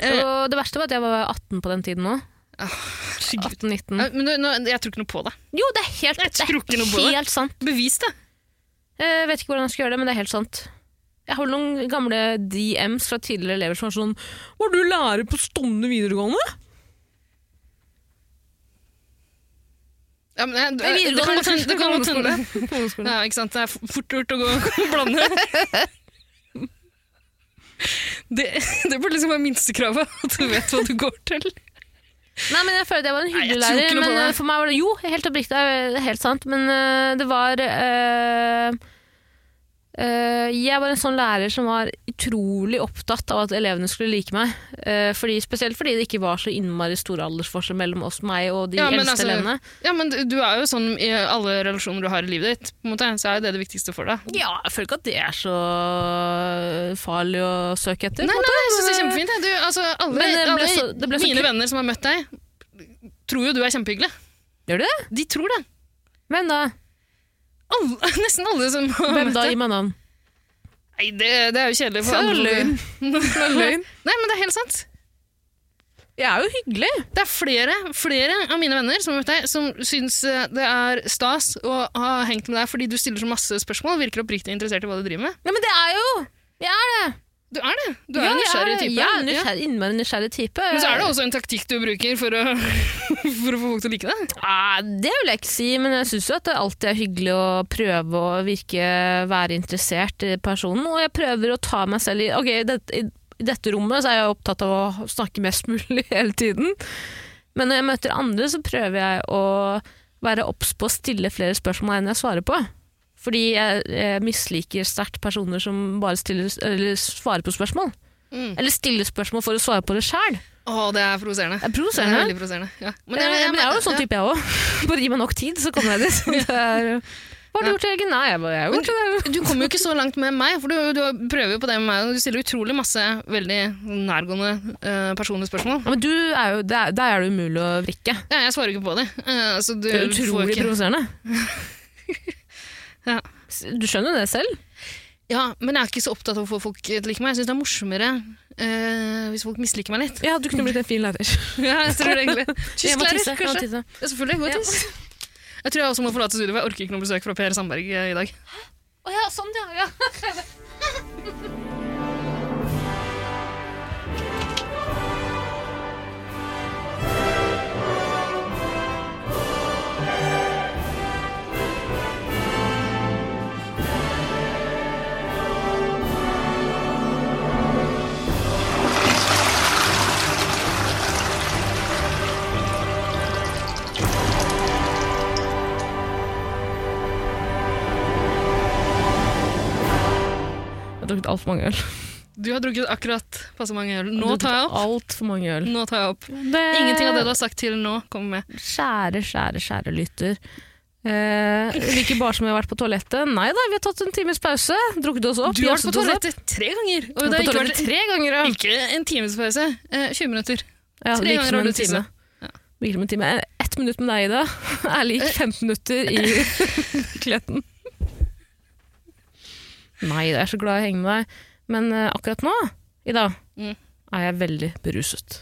A: Eh.
B: Og det verste var at jeg var 18 på den tiden òg.
A: Herregud.
B: 18-19.
A: Ja, Eh, Men nå, nå, jeg tror ikke noe på det.
B: Jo, det er helt,
A: Jeg
B: det
A: tror ikke
B: er
A: noe på det.
B: helt sant.
A: Bevis det.
B: Jeg vet ikke hvordan jeg skal gjøre det, men det er helt sant. Jeg har noen gamle DMs fra tidligere elever som var sånn Var du lærer på Stovner videregående?
A: Ja, men, jeg-
B: Nei,
A: det
B: videregående.
A: kan godt hende- det kan godt hende.
B: Ungdomsskole.
A: Ja, ikke sant? Det er f- fort gjort å gå og blande. Det, det burde liksom være minstekravet, at du vet hva du går til.
B: Nei, men jeg føler at jeg var en hyggelig
A: Nei, jeg tror ikke
B: lærer.
A: noe
B: Men
A: på
B: eh,
A: det.
B: for meg var det Jo, helt oppriktig, det er helt sant. Men eh, det var eh, Eh, jeg var en sånn lærer som var utrolig opptatt av at elevene skulle like meg. Eh, fordi, spesielt fordi det ikke var så innmari stor aldersforskjell mellom oss, meg og de
A: Ja, men
B: eldste
A: altså-
B: elevene.
A: Ja, men du- du er jo sånn i alle relasjoner du har i livet ditt, på en måte, så er jo det det viktigste for deg.
B: Ja, jeg føler ikke at det er så farlig å søke etter.
A: Nei, nei, jeg synes det er kjempefint. jeg. Du, altså, alle
B: Men det ble
A: alle
B: så- det ble så
A: mine
B: kul-
A: venner som har møtt deg, tror jo du er kjempehyggelig.
B: Gjør du det?
A: De tror det.
B: Hvem da?
A: Alle, nesten alle som har
B: Hvem
A: møtt
B: da?
A: deg.
B: Gi meg navn.
A: Nei, det, det er jo kjedelig for
B: Så
A: andre.
B: løgn.
A: Nei, men det er helt sant.
B: Jeg er jo hyggelig.
A: Det er flere, flere av mine venner som har møtt deg, som syns eh, det er stas å ha hengt med deg fordi du stiller så masse spørsmål, virker oppriktig interessert i hva du driver med.
B: Ja, men det er jo Jeg er det.
A: Du er det. Du er
B: Ja, jeg
A: en nysgjerrig type.
B: Jeg er en
A: Ja.
B: nysgjerrig, innmari nysgjerrig type.
A: Men så er det også en taktikk du bruker for å, for å få folk til å like deg.
B: Nei, Ah, det vil jeg ikke si, men jeg syns jo at det alltid er hyggelig å prøve å virke være interessert i personen, og jeg prøver å ta meg selv i Ok, i det, i, i dette rommet så er jeg opptatt av å snakke mest mulig hele tiden, men når jeg møter andre, så prøver jeg å være obs på å stille flere spørsmål enn jeg svarer på. Fordi jeg, jeg misliker sterkt personer som bare stiller, eller svarer på spørsmål.
A: Mm.
B: Eller stiller spørsmål for å svare på det sjæl.
A: Å, det er provoserende.
B: Det er
A: Det er
B: provoserende.
A: veldig provoserende. Ja.
B: Men jeg, men jeg er jo sånn type, jeg òg. Bare gi meg nok tid, så kommer jeg dit. Det er, hva har du
A: Ja.
B: gjort i helgen? Nei, jeg bare- jeg har
A: Men
B: gjort det.
A: Du kommer jo ikke så langt med meg, for du, du prøver jo på det med meg. og Du stiller utrolig masse veldig nærgående eh, personlige spørsmål.
B: Ja, men du er jo, der, der er det umulig å vrikke.
A: Ja, jeg svarer ikke på det. eh, så du
B: Det er
A: får
B: utrolig
A: ikke
B: provoserende.
A: Ja.
B: Du skjønner jo det selv.
A: Ja, men jeg er ikke så opptatt av å få folk til å like meg. Jeg syns det er morsommere eh, hvis folk misliker meg litt.
B: Ja, du kunne blitt en fin lærer.
A: ja, jeg tror det egentlig. Kystlærer, kanskje.
B: kanskje.
A: Ja, selvfølgelig. Gå og
B: Ja.
A: tiss. Jeg tror jeg også må forlate studioet. for Jeg orker ikke noe besøk fra Per Sandberg eh, i dag.
B: Å ja, sånn ja. ja. Jeg har drukket altfor mange øl.
A: Du har drukket akkurat passe mange øl.
B: Jeg
A: Nå
B: har
A: tar jeg
B: drukket
A: opp.
B: alt for mange øl.
A: Nå tar jeg opp. Ingenting av det du har sagt til nå, kommer med.
B: Kjære, kjære, kjære lytter. Eh, ikke bare som vi har vært på toalettet. Nei da, vi har tatt en times pause. Drukket oss opp.
A: Du har vært
B: jazset
A: på
B: oss opp.
A: toalettet tre ganger! Og
B: Jeg har
A: det har
B: vært på
A: ikke
B: toalettet
A: vært
B: tre ganger, ja.
A: ikke en times pause. Eh, 20 minutter.
B: Ja, det
A: Tre
B: virker
A: ganger
B: som
A: har
B: en
A: du tisset.
B: time.
A: Ja.
B: Virker som en time. Ett minutt med deg, Ida, er lik 15 minutter i virkeligheten. Nei, jeg er så glad jeg henger med deg. Men eh, akkurat nå, Ida,
A: Mm.
B: er jeg veldig beruset.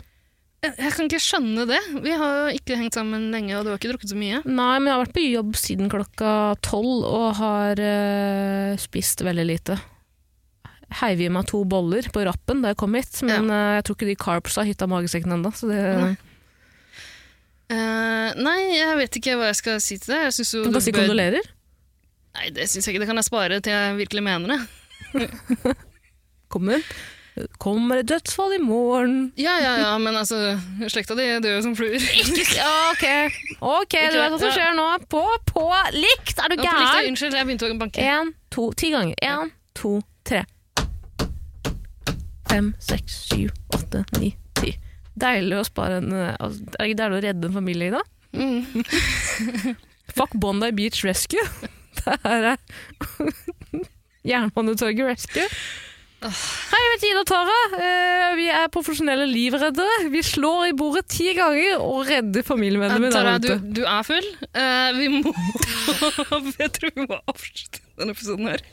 A: Jeg, jeg kan ikke skjønne det. Vi har jo ikke hengt sammen lenge, og du har ikke drukket så mye.
B: Nei, men jeg har vært på jobb siden klokka tolv og har eh, spist veldig lite. Heiv i meg to boller på rappen da jeg kom hit, men eh, jeg tror ikke de carbsa hytta magesekken ennå. så det-
A: Nei. Eh, nei, jeg vet ikke hva jeg skal si til deg. Jeg synes jo
B: Du
A: du
B: kan si
A: bør-
B: kondolerer.
A: Nei, det syns jeg ikke. Det kan jeg spare til jeg virkelig mener det.
B: Kommer, kommer et dødsfall i morgen?
A: Ja, ja, ja, men altså, slekta di dør jo som fluer.
B: Ja, ok. Ok, du vet hva som skjer nå. På, på, likt! Er du
A: Ja, på likt,
B: gæren?
A: Unnskyld, jeg begynte å banke.
B: Én, to, ti ganger. Én, to, tre. Fem, seks, syv, åtte, ni, ti. Deilig å spare en eh, altså, Er det ikke deilig å redde en familie i dag?
A: Mm.
B: Fuck Bondi Beach Rescue. Det her er Jernbanetorget Rescue. Hei, jeg heter Ida Tara. Eh, Vi er profesjonelle livreddere. Vi slår i bordet ti ganger og redder familiemedlemmer der
A: Tara, du,
B: ute.
A: du er full. Eh, vi må Jeg tror vi må avslutte denne episoden her.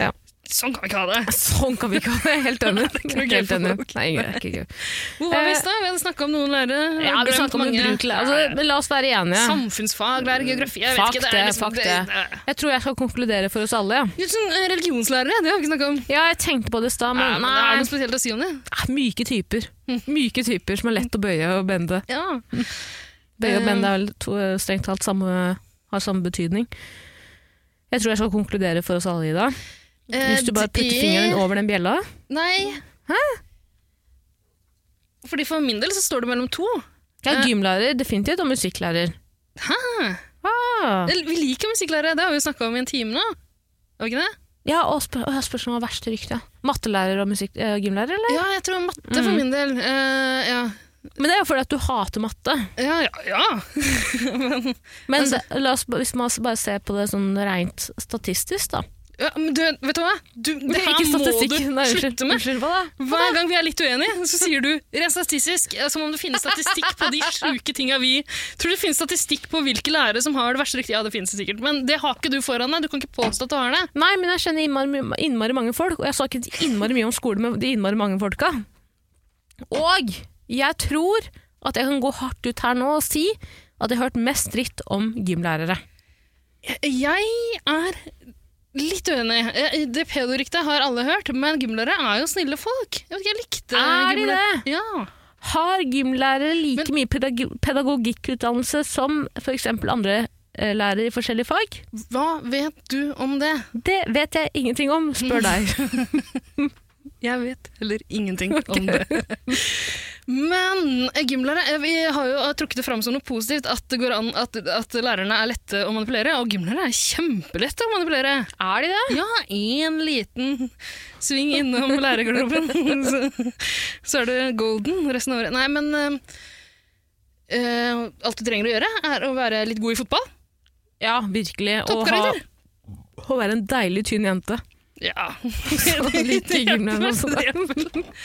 B: Ja.
A: Sånn kan vi ikke ha det.
B: Sånn kan vi ikke ha det. Jeg er Helt enig.
A: ikke
B: Jeg
A: noe
B: er Helt
A: gøy for
B: enig.
A: folk.
B: Nei, jeg er ikke gøy.
A: Hvor var vi i
B: Eh,
A: stad? Vi hadde snakka om noen lærere.
B: Ja, vi
A: glemt
B: snakker om
A: mange.
B: ubrukelig. Altså, men la oss være enige.
A: Samfunnsfaglærer, geografi Jeg
B: Fuck
A: vet ikke, det
B: det,
A: er liksom
B: fuck det. Jeg tror jeg skal konkludere for oss alle. Ja,
A: Jo, sånn, eh, religionslærere, det har vi ikke snakka om.
B: ja jeg tenkte på det i stad,
A: Nei,
B: men
A: men Er det
B: nei.
A: noe spesielt å si om det?
B: Myke typer. Myke typer som er lett å bøye og bende.
A: Ja.
B: Bøye og
A: Eh.
B: bende er vel to, strengt talt samme, har samme betydning. Jeg tror jeg skal konkludere for oss alle, Ida. Hvis du bare putter fingeren over den bjella.
A: Eh, Nei. Fordi For min del så står det mellom to.
B: Ja,
A: Eh.
B: gymlærer definitivt, og musikklærer.
A: Hæ?
B: Ah.
A: Eller, Vi liker musikklærere, det har vi jo snakka om i en time nå. Har vi ikke det?
B: Ja, og spør, og jeg spør som var verste rykte. Mattelærer og musikk, eh, gymlærer, eller?
A: Ja, jeg tror matte
B: Mm.
A: for min del. Eh, ja.
B: Men det er jo fordi at du hater matte.
A: ja, ja, ja. men,
B: Men
A: Altså-
B: det- la oss, ba- hvis man bare ser på det sånn rent statistisk, da.
A: ja, men du, vet du hva? Du, det her
B: Ikke
A: må
B: statistikk,
A: du
B: nei, unnskyld,
A: slutte med.
B: Unnskyld, hva da?
A: Hver gang vi er litt uenige, så sier du rent statistisk, eh, som om det finnes statistikk på de sjuke tinga vi Tror du det finnes statistikk på hvilke lærere som har det verste riktig? Ja, det finnes det sikkert, men det har ikke du foran deg. Du kan ikke påstå at du har det.
B: Nei, men jeg kjenner innmari, my- innmari mange folk, og jeg snakket innmari mye om skole med de innmari mange folka. Og jeg tror at jeg kan gå hardt ut her nå og si at jeg har hørt mest dritt om gymlærere.
A: Jeg er litt uenig. Eh, Det pedoryktet har alle hørt, men gymlærere er jo snille folk. Jeg vet ikke, jeg likte
B: Er de
A: gymlærere. Ja.
B: Har gymlærere like mye pedag pedagogikkutdannelse som f.eks. andre eh, lærere i forskjellige fag?
A: Hva vet du om det?
B: Det vet jeg ingenting om, spør deg.
A: Jeg vet heller ingenting om det. Men eh, gymlærere eh, Vi har jo trukket det fram som noe positivt at, det går an, at, at lærerne er lette å manipulere. Og gymlærere er kjempelette å manipulere.
B: Er de det?
A: Ja, én liten sving innom lærergarderoben, så, så er du golden resten av året. Nei, men eh, eh, alt du trenger å gjøre, er å være litt god i fotball.
B: Ja, virkelig. Og ha,
A: Toppkarakter.
B: å være en deilig tynn jente.
A: Ja.
B: litt gymlærere også, da.
A: Dreper.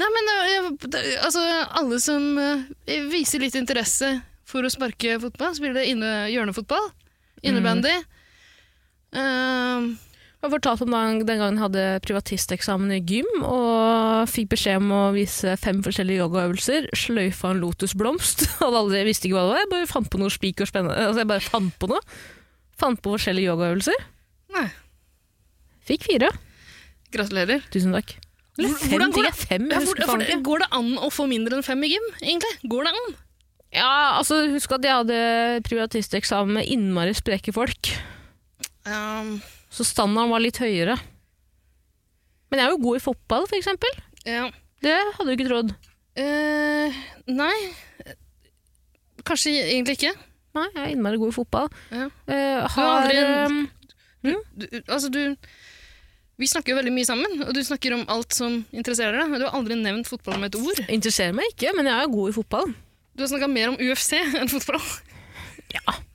A: Nei, men eh, det- altså, alle som eh, viser litt interesse for å sparke fotball, spiller inne, hjørnefotball,
B: Mm.
A: innebandy. Eh,
B: Jeg har fortalt om den, den gangen jeg hadde privatisteksamen i gym, og fikk beskjed om å vise fem forskjellige yogaøvelser, sløyfa en lotusblomst, hadde aldri visste ikke hva det var, jeg bare fant på noe spik og spennende, altså jeg bare fant på noe. Fant på forskjellige yogaøvelser.
A: nei,
B: Fikk fire.
A: gratulerer.
B: Tusen takk. Eller
A: Hvor-
B: fem,
A: hvordan går
B: fikk
A: det-
B: jeg fem,
A: Ja,
B: jeg
A: for,
B: husker
A: for,
B: faen ikke.
A: går det an å få mindre enn fem i gym, egentlig? Går det an?
B: Ja, altså husk at jeg hadde privatisteksamen med innmari spreke folk,
A: Um,
B: så standarden var litt høyere. Men jeg er jo god i fotball, for eksempel.
A: ja.
B: Det hadde du ikke trodd.
A: Eh, nei. Kanskje egentlig ikke.
B: Nei, jeg er innmari god i fotball.
A: Ja.
B: Eh,
A: Du har
B: har,
A: aldri
B: ehm,
A: en- Du, altså, du Vi snakker jo veldig mye sammen, og du snakker om alt som interesserer deg. men Du har aldri nevnt fotball med et ord.
B: eh, interesserer meg ikke, men jeg er god i fotball.
A: Du har snakka mer om UFC enn fotball.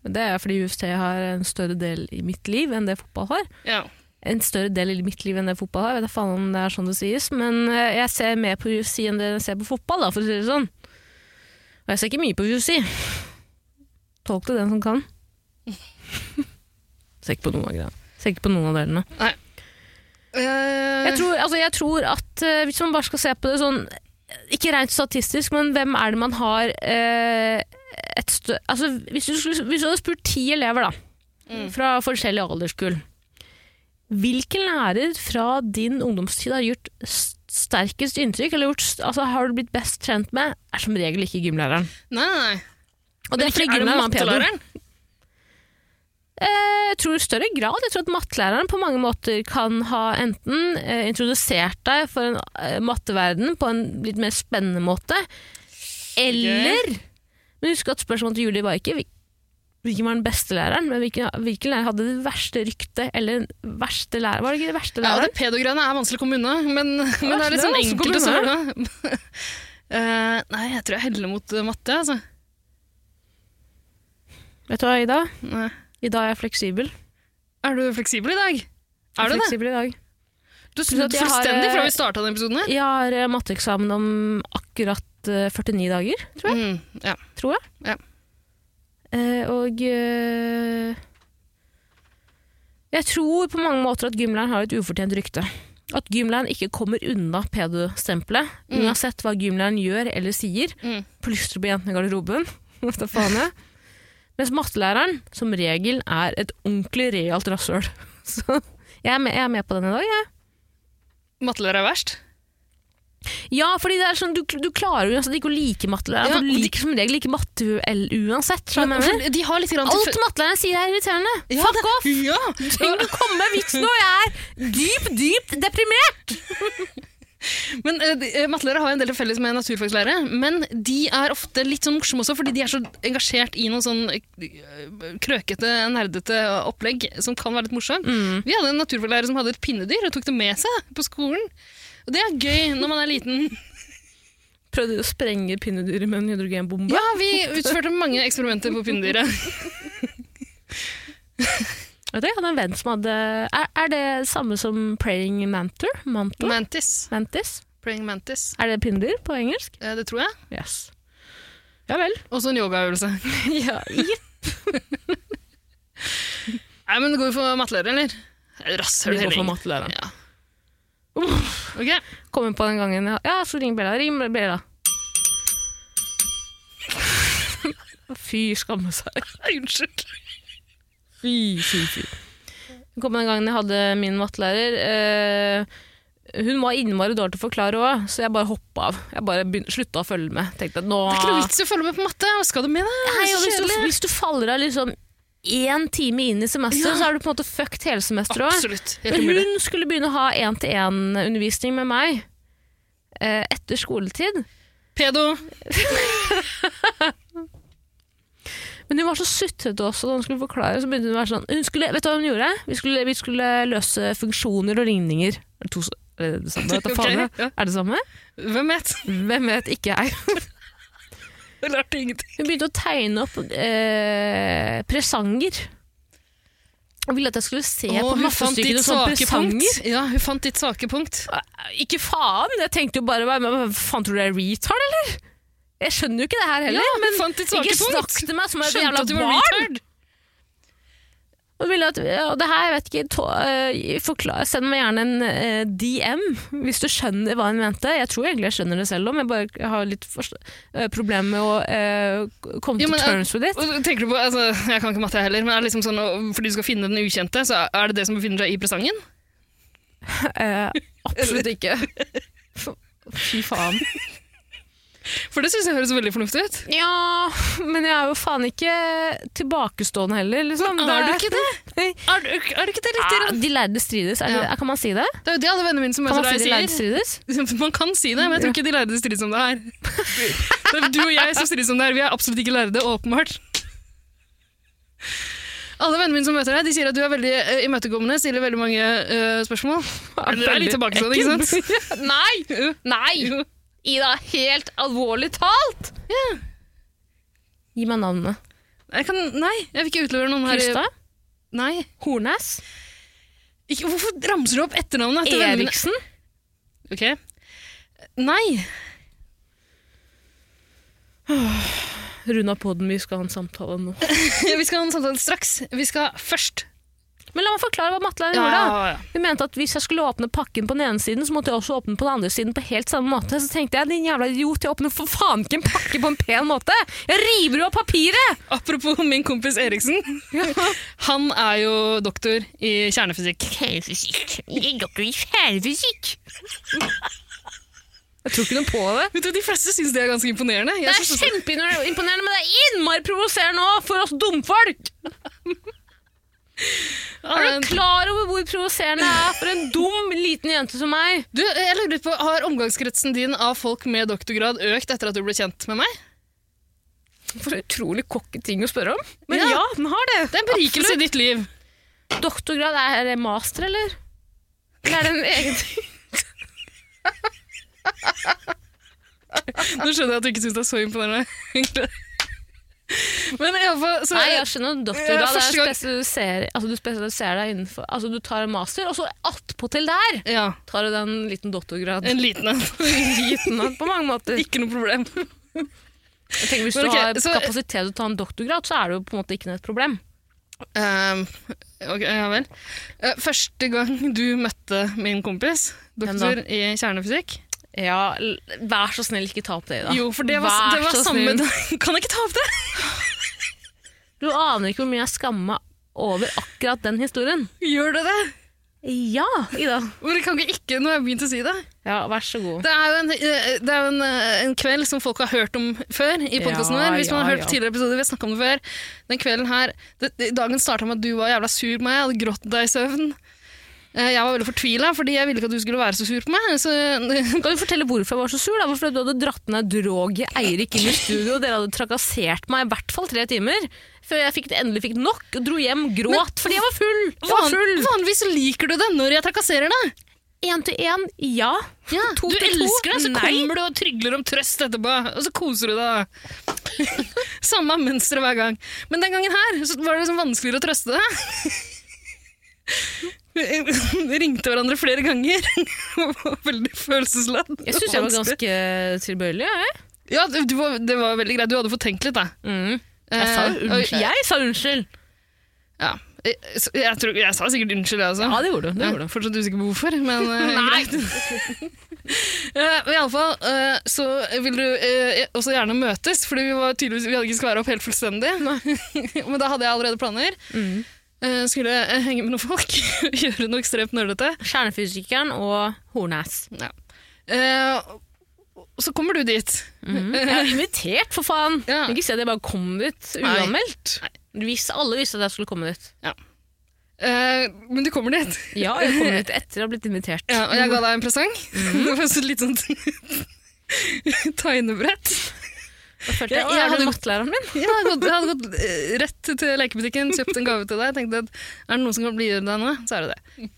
B: Det er fordi UFC har en større del i mitt liv enn det fotball har.
A: Ja.
B: En større del i mitt liv enn det fotball har. Jeg vet da faen om det er sånn det sies, men eh, jeg ser mer på UFC enn det jeg ser på fotball, da, for å si det sånn. Og jeg ser ikke mye på UFC. Tolk det den som kan. ser ikke på noen av greiene. Ser ikke på noen av delene.
A: Eh,
B: Jeg tror, altså, jeg tror at eh, hvis man bare skal se på det sånn Ikke rent statistisk, men hvem er det man har eh, et stø altså, hvis, du skulle, hvis du hadde spurt ti elever da,
A: Mm.
B: fra forskjellige alderskull Hvilken lærer fra din ungdomstid har gjort s- sterkest inntrykk? Eller gjort, s- altså, har du blitt best trent med? Er som regel ikke gymlæreren.
A: Nei, nei, nei.
B: Og det er fordi
A: er det
B: gymlæreren er pedo.
A: mattelæreren?
B: Eh, Jeg tror i større grad. Jeg tror at mattelæreren på mange måter kan ha enten eh, introdusert deg for en eh, matteverden på en litt mer spennende måte, eller Men husk at spørsmålet til Julie var ikke hvil- hvilken var den beste læreren, men hvilken, hvilken lærer hadde det verste ryktet, eller den verste lærer Var det ikke det verste
A: Ja, det
B: læreren?
A: pedo-greiene er vanskelig å komme unna, men, men det er
B: det
A: litt
B: er
A: sånn
B: vanskelig å
A: enkelt å
B: komme
A: svare. Eh, nei, jeg tror jeg heller mot eh, matte, altså.
B: Vet du hva, Ida?
A: Nei.
B: Ida er jeg fleksibel.
A: Er du fleksibel i dag? Er du det?
B: fleksibel i dag.
A: Du har
B: Pluss at
A: snudd
B: jeg har,
A: fullstendig fra
B: eh,
A: vi starta denne episoden her.
B: Jeg har eh, matteeksamen om akkurat eh, 49 dager, tror jeg.
A: Mm, ja.
B: tror jeg.
A: Ja.
B: Eh, og eh, jeg tror på mange måter at gymlæreren har et ufortjent rykte. At gymlæreren ikke kommer unna pedo-stempelet,
A: Mm.
B: uansett hå hva gymlæreren gjør eller sier.
A: Mm.
B: Plystrer på jentene i garderoben. Hva da faen jeg? Mens mattelæreren som regel er et ordentlig realt rasshøl. Så jeg er, med, jeg er med på den i dag. Jeg.
A: Mattelærer er verst.
B: Ja, fordi det er sånn, du, du klarer jo uansett ikke å like mattelæreren,
A: Ja,
B: for du
A: og de-
B: liker som regel ikke matte uansett. skjønner du hva jeg
A: Men,
B: mener?
A: for de har litt grann til
B: Alt mattelæreren sier er irriterende.
A: Ja,
B: Fuck
A: det-
B: off!
A: Ja!
B: Tenk å komme med vitsen når jeg er dypt, dypt deprimert!
A: Men eh, de- eh, Mattelærere har jo en del til felles med naturfagslærere, men de er ofte litt sånn morsomme også, fordi de er så engasjert i noen sånn eh, krøkete, nerdete opplegg som kan være litt morsomt.
B: Mm.
A: Vi hadde en naturfaglærer som hadde et pinnedyr og tok det med seg på skolen. Og det er gøy når man er liten.
B: Prøvde å sprenge pinnedyret med en hydrogenbombe.
A: Ja, vi utførte mange eksperimenter på pinnedyret.
B: Vet du, Jeg hadde en venn som hadde Er, er det samme som praying mantor? Mantor?
A: Mantis.
B: Mantis?
A: Praying mantis.
B: Er det pinnedyr på engelsk?
A: Eh, Det tror jeg.
B: Yes. Ja vel.
A: Også en sånn yogaøvelse.
B: Ja,
A: Nei, men det går jo for mattelærer, eller?
B: Vi
A: Rasshøl
B: går for
A: Herring.
B: mattelæreren.
A: Ja.
B: Uff,
A: Ok,
B: Kommer på den gangen jeg Ja, så ring Bella. Ring Bella. Fy, skamme seg.
A: Nei, unnskyld.
B: Fy, fy, fy. Det kom den gangen jeg hadde min mattelærer. Eh, hun var innmari dårlig til å forklare òg, så jeg bare hoppa av. Jeg bare begyn- slutta å følge med. Tenkte at nå
A: Det er ikke noe vits i å følge med på matte. Hva skal du med det?
B: Nei, og
A: Så
B: hvis, du,
A: kjedelig.
B: hvis du faller av liksom én time inn i semesteret,
A: Ja.
B: så er du på en måte fucked hele semesteret òg.
A: Absolutt. Helt
B: Men
A: umulig.
B: hun skulle begynne å ha én-til-én-undervisning med meg eh, etter skoletid.
A: Pedo.
B: Men hun var så suttete også da hun skulle forklare. Så begynte hun å være sånn hun skulle, Vet du hva hun gjorde? Vi skulle, vi skulle løse funksjoner og ligninger. Er det, to, s- er det det samme? Vet du
A: Ok,
B: faen,
A: ja.
B: Er det samme?
A: Hvem vet?
B: Hvem vet ikke jeg.
A: Jeg lærte ingenting.
B: Hun begynte å tegne opp eh, presanger. Og ville at jeg skulle se på mattestykkene som presanger.
A: Ja, hun fant ditt svake punkt.
B: Ikke faen! Jeg tenkte jo bare hva- hva Faen, tror du jeg er retard, eller? Jeg skjønner jo ikke det her
A: Ja,
B: heller.
A: hun fant ditt svake
B: ikke snakk
A: punkt.
B: til meg som et
A: Skjønte
B: jævla
A: at du var
B: barn!
A: retard.
B: Og, vil at, og det her, jeg vet ikke, tå- eh, forklar, send meg gjerne en eh, DM hvis du skjønner hva hun mente. Jeg tror egentlig jeg skjønner det selv om, jeg bare jeg har litt forst- eh, problemer med å eh, komme
A: Ja,
B: til
A: men, eh,
B: terms with it.
A: Og tenker du på, altså, Jeg kan ikke matte jeg heller, men er det liksom sånn, å- fordi du skal finne den ukjente, så er det det som befinner seg i presangen?
B: Eh, absolutt ikke. Fy faen.
A: For det syns jeg høres veldig fornuftig ut.
B: Ja, men jeg er jo faen ikke tilbakestående heller, liksom.
A: Men er du ikke det? Er du, er du ikke det litt?
B: Ah, de lærde strides, er det,
A: Ja.
B: kan man si det?
A: Det er jo det alle vennene mine som
B: Kan
A: møter
B: man
A: deg,
B: si de lærde
A: sier.
B: strides?
A: Man kan si det, men jeg tror ikke de lærde strides om det her. Det er du og jeg som strides om det her. Vi er absolutt ikke lærde, åpenbart. Alle vennene mine som møter deg, de sier at du er veldig eh, imøtekommende, stiller veldig mange eh, spørsmål. Det er litt tilbakestående, ikke sant?
B: sånn, sant? Nei!
A: Jo.
B: Nei!
A: Jo.
B: Ida, helt alvorlig talt! Gi meg navnene.
A: Jeg kan, nei, jeg vil ikke utlevere noen her.
B: Krystad?
A: Nei.
B: Hornæs?
A: Ikke, hvorfor ramser du opp etternavnet etter vennene mine?
B: Eriksen?
A: Ok. Nei.
B: Runda poden, vi skal ha en samtale nå.
A: Vi skal ha en samtale straks. Vi skal først.
B: Men la meg forklare hva mattelæreren gjorde. da. Hun mente at hvis jeg skulle åpne pakken på den ene siden, så måtte jeg også åpne på den andre siden på helt samme måte. Så tenkte jeg, din jævla idiot, jeg åpner for faen ikke en pakke på en pen måte! Jeg river jo av papiret!
A: Apropos min kompis Eriksen. Han er jo doktor i kjernefysikk.
B: Kjernefysikk. Doktor i kjernefysikk. Jeg tror ikke noe på det.
A: Vet du, De fleste syns det er ganske imponerende. Jeg
B: Det er
A: synes også-
B: kjempeimponerende, men det er innmari provoserende òg, for oss dumfolk! Er
A: Ja,
B: du klar over hvor provoserende det er for en dum, liten jente som meg?
A: du, jeg lurer på, Har omgangskretsen din av folk med doktorgrad økt etter at du ble kjent med meg?
B: For utrolig kokke ting å spørre om.
A: Men ja,
B: den har det.
A: Det er en berikelse i ditt liv.
B: Doktorgrad, er det master, eller? Eller er det en egen ting?
A: Nå skjønner jeg at du ikke syns det er så imponerende. egentlig. Men i alle fall, så,
B: Nei, jeg skjønner
A: Ja,
B: doktorgrad.
A: første
B: er
A: gang-
B: spesialiserer, altså, du spesialiserer deg innenfor Altså, du tar en master, og så attpåtil der
A: Ja,
B: tar du deg en liten doktorgrad.
A: En liten en.
B: Liten en på mange måter.
A: Ikke noe problem.
B: Jeg tenker, hvis
A: Men
B: du
A: ok,
B: har
A: så-
B: kapasitet til å ta en doktorgrad, så er det jo på en måte ikke noe et problem.
A: Ehm, ok, ja vel. Eh, Første gang du møtte min kompis,
B: Hvem da?
A: doktor i kjernefysikk
B: Ja, l- vær så snill, ikke ta opp det, Ida.
A: Jo, for det var,
B: Ah, Vær
A: det var
B: så
A: samme
B: snill.
A: dag. Kan jeg ikke ta opp det?
B: Du aner ikke hvor mye jeg skammer meg over akkurat den historien.
A: Gjør det det?
B: Ja, Ida.
A: Men jeg kan ikke ikke når jeg har begynt å si det.
B: Ja, vær så god.
A: Det er jo en, eh, det er jo en, eh, en kveld som folk har hørt om før i podkasten
B: Ja,
A: vår. Hvis man har
B: ja,
A: hørt
B: ja.
A: på tidligere episoder, vi har snakket om det før. Den kvelden her, det, det, Dagen starta med at du var jævla sur på meg, jeg hadde grått deg i søvn. Eh, Jeg var veldig fortvila, fordi jeg ville ikke at du skulle være så sur på meg. Så
B: Kan du fortelle hvorfor jeg var så sur? da? Hvorfor du hadde dratt ned droget Eirik inn i studio, og dere hadde trakassert meg i hvert fall tre timer? Før jeg fikk, endelig fikk nok og dro hjem gråt fordi jeg var full! Jeg var
A: Van,
B: full!
A: vanligvis så liker du det når jeg trakasserer deg.
B: Én til én, ja. To
A: du
B: til to,
A: elsker det, så
B: nei.
A: kommer du og trygler om trøst etterpå. Og så koser du deg. Samme mønster hver gang. Men den gangen her så var det liksom vanskeligere å trøste deg. Vi ringte hverandre flere ganger. var veldig følelsesladd.
B: Jeg syns jeg var
A: Vanskelig.
B: ganske eh, tilbøyelig. Jeg.
A: Ja, du, du var, det var veldig greit. Du hadde fått tenkt litt, da.
B: Mm. Jeg, sa jo
A: Eh,
B: unnskyld. jeg sa unnskyld!
A: Ja. Jeg, jeg, tror, jeg sa sikkert unnskyld, jeg også.
B: Ja, det gjorde du. Det
A: Jeg
B: gjorde du.
A: er fortsatt usikker på hvorfor, men eh, greit. Eh, men iallfall uh, så vil du eh, også gjerne møtes, fordi vi var tydeligvis, vi hadde ikke skværa opp helt fullstendig. men da hadde jeg allerede planer. Eh, skulle eh, henge med noen folk, gjøre noe ekstremt nerdete.
B: Kjernefysikeren og Hornæs.
A: Ja. Eh, og så kommer du dit.
B: Jeg er invitert, for faen!
A: Ja.
B: Ikke si at jeg bare kom dit
A: Nei.
B: uanmeldt. Hvis alle visste at jeg skulle komme dit.
A: Eh, men du kommer dit.
B: Ja, jeg kom dit etter å ha blitt invitert.
A: Ja, og jeg ga deg en presang. Det var så litt sånn tegnebrett.
B: Da følte
A: Ja,
B: jeg,
A: og
B: «Å,
A: jeg
B: er
A: hadde-
B: du mattelæreren min?
A: Jeg hadde gått, jeg hadde gått eh, rett til lekebutikken, kjøpt en gave til deg. Tenkte at er det noen som kan bli deg nå, så er det det.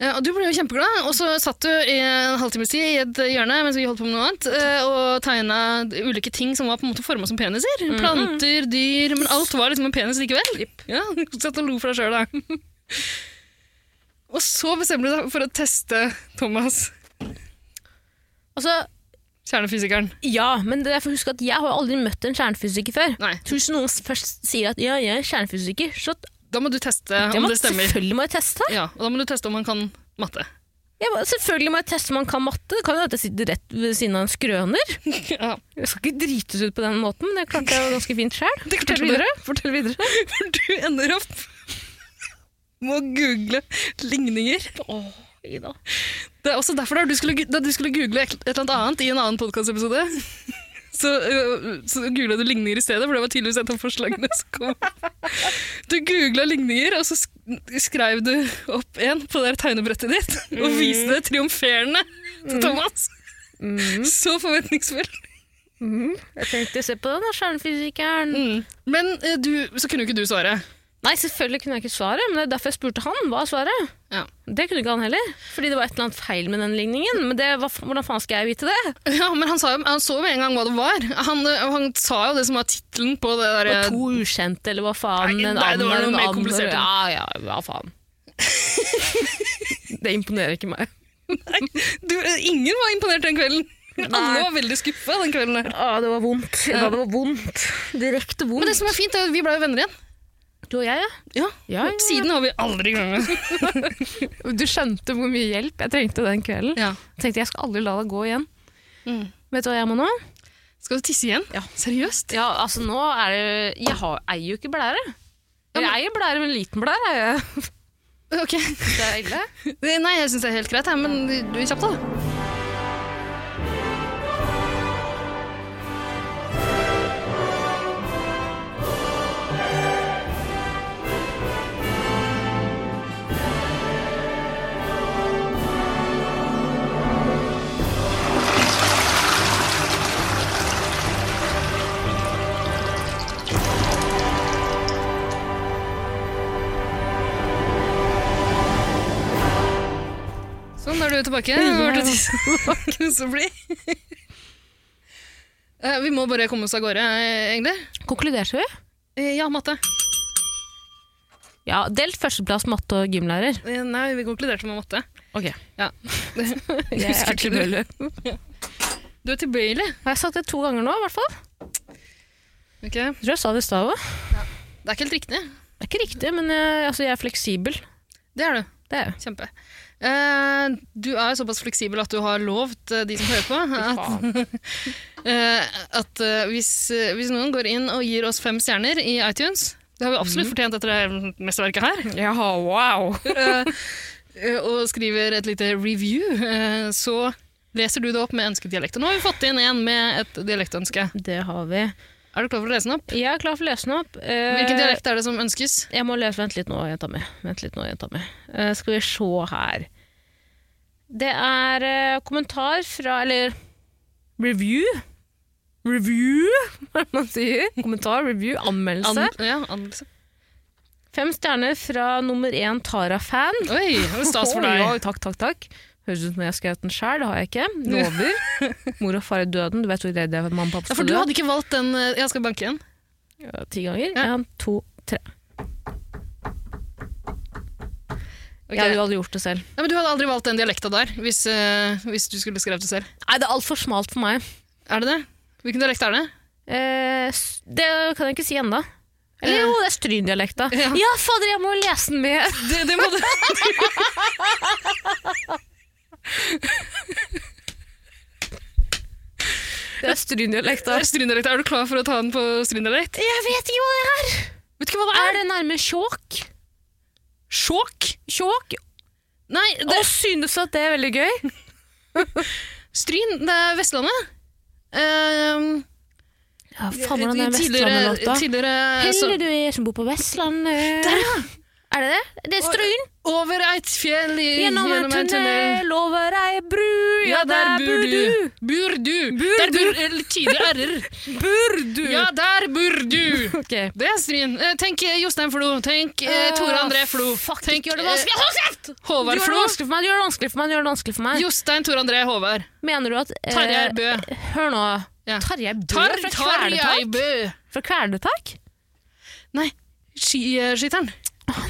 A: Eh, Og du ble jo kjempeglad, og så satt du i en halvtimes tid i et hjørne mens vi holdt på med noe annet, eh, og tegna ulike ting som var på en måte forma som peniser.
B: Mhm.
A: Planter, dyr, men alt var liksom en penis likevel. Ja, satt og lo for deg sjøl, da. Og så bestemmer du deg for å teste Thomas,
B: Altså,
A: kjernefysikeren.
B: ja, men det er for å huske at jeg har jo aldri møtt en kjernefysiker før.
A: Nei.
B: Så hvis noen først sier at ja, jeg er kjernefysiker, så
A: Da må du teste
B: jeg
A: om
B: må,
A: det stemmer.
B: selvfølgelig må jeg teste.
A: Ja, og da må du teste om han kan matte.
B: Jeg må, selvfølgelig må jeg teste om man kan matte. Det kan jo at jeg sitter rett ved siden av en skrøner.
A: Ja.
B: Jeg skal ikke drites ut på den måten, men det klarte jeg jo ganske fint sjøl.
A: Det klarte
B: Fortell
A: du.
B: videre. Fortell videre.
A: For du ender opp med å google ligninger. Det er også derfor da du skulle, da du skulle google et eller annet annet i en annen podkastepisode. Så, øh, så googla du ligninger i stedet, for det var tydeligvis et av forslagene som kom. Du googla ligninger, og så sk- skrev du opp en på det der tegnebrettet ditt og viste det triumferende til Thomas. Så forventningsfull.
B: Jeg tenkte se på den da, kjernefysikeren.
A: Men øh, du, så kunne jo ikke du svare.
B: Nei, selvfølgelig kunne jeg ikke svaret, men det er derfor jeg spurte han. Hva er svaret?
A: Ja.
B: Det kunne ikke han heller, fordi det var et eller annet feil med den ligningen. Men det, hva, fa- hvordan faen skal jeg vite det?
A: Ja, men han, sa jo, han så jo med en gang hva det var. Han, ø, han sa jo det som var tittelen på det der
B: Og to ukjente, eller hva faen?
A: Eh, Nei,
B: en
A: nei, det var
B: and,
A: noe
B: en
A: mer
B: and,
A: komplisert.
B: Ja, ja, hva faen. det imponerer ikke meg.
A: du, ø, Ingen var imponert den kvelden. Alle var veldig skuffa den kvelden. der.
B: Å, det var vondt. Ja, det var vondt. Direkte vondt.
A: Men det som er fint, er at vi ble jo venner igjen.
B: Du og jeg, ja.
A: Ja.
B: Ja, ja.
A: Siden har vi aldri krangla.
B: Du skjønte hvor mye hjelp jeg trengte den kvelden.
A: Ja.
B: Tenkte jeg skal aldri la deg gå igjen.
A: Mm.
B: Vet du hva jeg må nå?
A: Skal du tisse igjen?
B: Ja.
A: Seriøst?
B: Ja, altså nå er det Jeg har, eier jo ikke blære. Jeg eier blære, men liten blære er jeg.
A: Ok.
B: Det er ille.
A: Nei, jeg syns det er helt greit, jeg, men du du er kjapp, da. Sånn, da er du tilbake. Nå har du tisset. Så blid. Eh, Vi må bare komme oss av gårde, eh, egentlig.
B: Konkluderte vi?
A: Eh, Ja, matte.
B: Ja, delt førsteplass matte og gymlærer.
A: Eh, Nei, vi konkluderte med matte.
B: Ok.
A: Ja.
B: Jeg er tilbøyelig.
A: Du er tilbøyelig.
B: Har jeg sagt det to ganger nå, i hvert fall?
A: Ok. Det
B: Jeg tror jeg sa det i stad òg.
A: er ikke helt riktig.
B: Det er ikke riktig, men jeg, altså, jeg er fleksibel.
A: Det er du.
B: Det er jeg.
A: Kjempe. Eh, du er såpass fleksibel at du har lovt eh, de som hører på, at, eh, at eh, hvis, eh, hvis noen går inn og gir oss fem stjerner i iTunes Det har vi absolutt
B: Mhm.
A: fortjent etter det mesterverket her.
B: Ja, wow.
A: eh, Og skriver et lite review, eh, så leser du det opp med ønsket dialekt. Og nå har vi fått inn en med et dialektønske.
B: Det har vi.
A: Er du klar for å lese den opp?
B: Jeg er klar for å lese den opp. Eh,
A: Hvilken dialekt er det som ønskes?
B: Jeg må lese, vent litt nå, jenta mi. Vent litt nå, jenta mi. Eh, skal vi se her. Det er eh, kommentar fra, eller review. Review, hva er det man sier? Kommentar, review, anmeldelse.
A: An- ja, anmeldelse.
B: Fem stjerner fra nummer én Tara-fan.
A: Oi, det var stas for
B: Oi,
A: deg.
B: oi, takk, takk, takk. Høres ut som jeg har skrevet den sjøl, det har jeg ikke. Lover. Mor og far er døden, du vet hvor redd jeg er for at mamma og pappa
A: Ja, for du hadde ikke valgt den eh, Jeg skal banke igjen.
B: Ja, Ti ganger.
A: Ja.
B: En, to, tre.
A: Ok.
B: Jeg hadde jo aldri gjort det selv.
A: Nei, men du hadde aldri valgt den dialekta der hvis, eh, hvis du skulle skrevet det selv.
B: Nei, det er altfor smalt for meg.
A: Er det det? Hvilken dialekt er det?
B: Eh, s- det kan jeg ikke si ennå. Eller jo, det er stryndialekta.
A: Ja.
B: Ja. fader, jeg må lese den med!
A: Det, det må du
B: Det er stryndialekta.
A: Det er Stryndialekt. Er du klar for å ta den på stryndialekt?
B: Jeg vet ikke hva det er!
A: Vet du ikke hva det
B: Er
A: er?
B: det nærme sjåk?
A: Sjåk?
B: Sjåk?
A: Nei, det
B: Og synes at det er veldig gøy?
A: Stryn, det er Vestlandet. Ehm,
B: Ja, faen hvordan er
A: tidligere-
B: Vestlandet-låta?
A: Tidligere altså, så,
B: Heller du er som bor på Vestlandet
A: Der,
B: altså- Er det det? Det er Stryn.
A: Over eit fjell i,
B: Gjennom en tunnel, over ei bru,
A: Ja, der bur du. Bur du. Der bur, eller tidlig r-er.
B: Bur du!
A: Ja, der bur du.
B: Ok.
A: Det er Stryn. Eh, Tenk eh, Jostein Flo. Tenk eh, Tore André Flo.
B: Fuck,
A: Tenk
B: ikke gjør det
A: eh,
B: vanskelig! Hold kjeft! Du gjør
A: Håvard
B: det
A: Flo.
B: vanskelig for meg, du gjør det vanskelig for meg. du gjør det vanskelig for meg.
A: Jostein Tore André Håvard.
B: Mener du at eh,
A: Tarjei Bø.
B: Hør nå.
A: Ja.
B: Tarjei Bø
A: Tar,
B: fra
A: Tarjei
B: Kvelertak?
A: Bø.
B: Fra Kvelertak?
A: Nei, skiskytteren.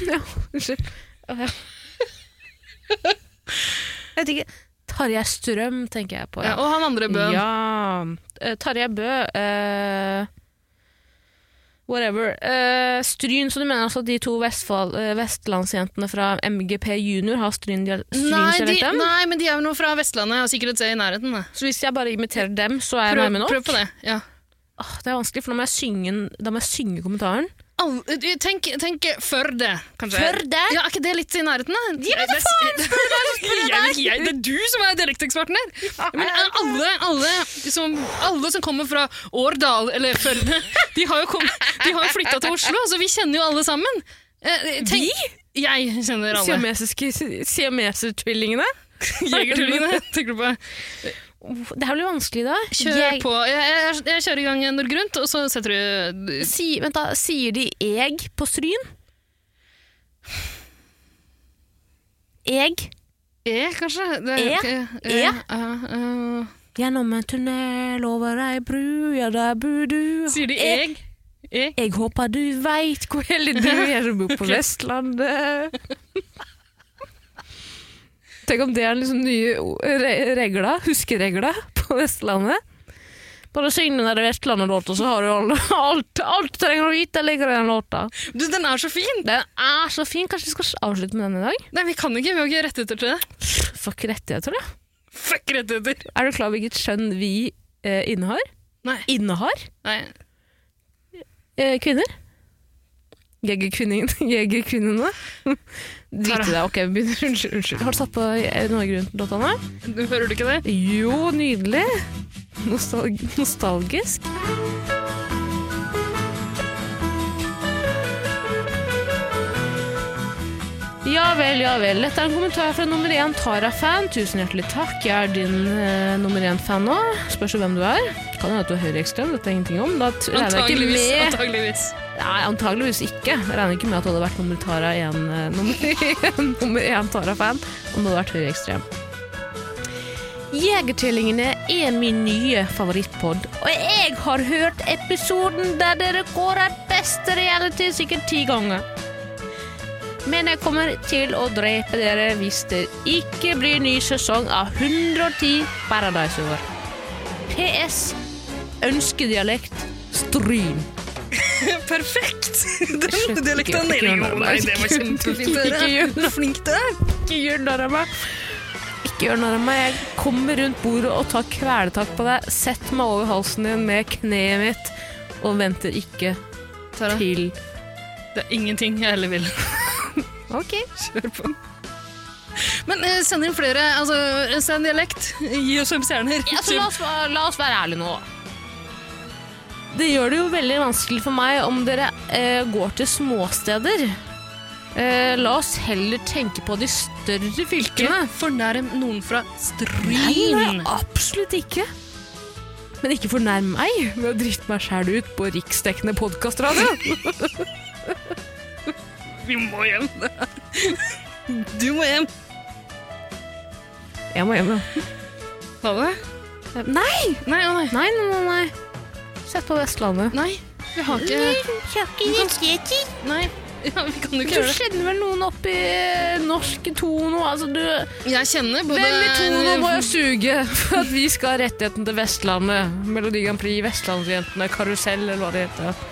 B: Ja, Unnskyld. Å, ja. Jeg vet ikke. Tarjei Strøm tenker jeg på.
A: Ja, og han andre bøen.
B: Ja. Eh, Tarjei Bø eh, Whatever. Eh, stryn, så du mener altså at de to Vestfold, eh, vestlandsjentene fra MGP junior har
A: Nei, de,
B: stryndialekten?
A: nei, men de er jo nå fra Vestlandet og sikkert et sted i nærheten. Da.
B: Så hvis jeg bare imiterer dem, så er jeg
A: Prøv,
B: nærme nok?
A: prøv på det. Ja.
B: Åh, det er vanskelig, for da må jeg synge, en- da må jeg synge kommentaren.
A: Al- eh, Tenk, tenk Førde, kanskje.
B: Førde?
A: Ja, Er ikke det litt i nærheten, da? Ja, men faen, spør du Det er du som er dialekteksperten her! Men eh, alle, alle, som, alle som kommer fra Årdal eller Førde, de har jo, kom- de har jo flytta til Oslo, så vi kjenner jo alle sammen. vi? Jeg kjenner alle.
B: Siamesiske- Siameser-tvillingene?
A: Jegertvillingene, tenker du på.
B: Uff, Det her blir vanskelig, da.
A: Kjør
B: Jeg-
A: på. Jeg, jeg, jeg kjører i gang når grunt, og så setter du
B: Si, vent da, sier de eg på stryn? Eg
A: E, kanskje? Det,
B: E?
A: eh,
B: E?
A: eh, eh, eh.
B: gjennom en tunnel over ei bru, ja der bor du.
A: Sier de eg? E?
B: Jeg håper du veit hvor heldig du er som bor på Vestlandet. Tenk om det er liksom nye o- re- regler, huskeregler, på Vestlandet. Bare syng den der Vestlandet-låta, så har du alt, alt, alt trenger å vite ligger i den låta.
A: Du, den er så fin!
B: Den er så fin. Kanskje vi skal avslutte med den i dag?
A: Nei, vi kan ikke. Vi har ikke rettigheter til det.
B: Fuck rettigheter, da.
A: Fuck rettigheter!
B: Er du klar over hvilket skjønn vi eh, innehar?
A: Nei.
B: Innehar?
A: Nei.
B: Eh, kvinner? Jegerkvinningene? Jegerkvinnene? Drit i det. Ok, vi begynner. Unnskyld. unnskyld. Har du satt på eh, norgerundt.no?
A: Du hører du ikke det?
B: Jo, nydelig. Nostal nostalgisk. Ja vel, ja vel. Dette er en kommentar fra nummer én Tara-fan. Tusen hjertelig takk. Jeg er din eh, nummer én-fan nå. Spørs jo hvem du er. Kan hende at du er høyreekstrem, dette er ingenting om. Da t- regner jeg ikke
A: Antageligvis.
B: med
A: antageligvis.
B: Nei, antageligvis ikke. Jeg regner ikke med at du hadde vært nummer Tara en, eh, nummer, nummer én Tara-fan om du hadde vært høyreekstrem. Jegertvillingene er min nye favorittpod, og jeg har hørt episoden der dere kårer beste reality sikkert ti ganger. Men jeg kommer til å drepe dere hvis det ikke blir ny sesong av 110 Paradise over. PS. Ønskedialekt. Stryn.
A: Perfekt!
B: Slutt,
A: Den
B: ikke- ikke
A: dialekta nede.
B: gjør
A: Jo,
B: det.
A: Nei, det var kjempefint å
B: Ikke
A: høre.
B: gjør
A: Så flink du er.
B: Ikke gjør narr av meg. Ikke gjør narr av meg. Jeg kommer rundt bordet og tar kvelertak på deg. Sett meg over halsen din med kneet mitt og venter ikke
A: Tara,
B: til
A: det er ingenting jeg heller vil.
B: Ok.
A: Kjør på. Men eh, send inn flere. Altså, send dialekt. Gi altså, oss fem stjerner.
B: Ja, så la, oss, la oss være ærlige nå. Det gjør det jo veldig vanskelig for meg om dere eh, går til småsteder. Eh, la oss heller tenke på de større fylkene.
A: Ikke fornærm noen fra
B: Nei,
A: Stryn.
B: absolutt ikke. Men ikke fornærm meg ved å drite meg sjæl ut på riksdekkende podkastradio.
A: Vi må hjem. Du må hjem.
B: Jeg må hjem, ja.
A: Ha det.
B: Nei,
A: Nei, å nei.
B: nei, nei. nei, nei. Sett på Vestlandet.
A: Nei, vi har ikke Nei, ja, vi kan jo
B: Du
A: ikke gjøre det.
B: kjenner vel noen oppi norsk tono? Altså, du
A: Jeg kjenner både
B: Hvem i tono må jeg suge for at vi skal ha rettigheten til Vestlandet? Melodi Grand Prix, Vestlandsjentene, Karusell, eller hva det heter.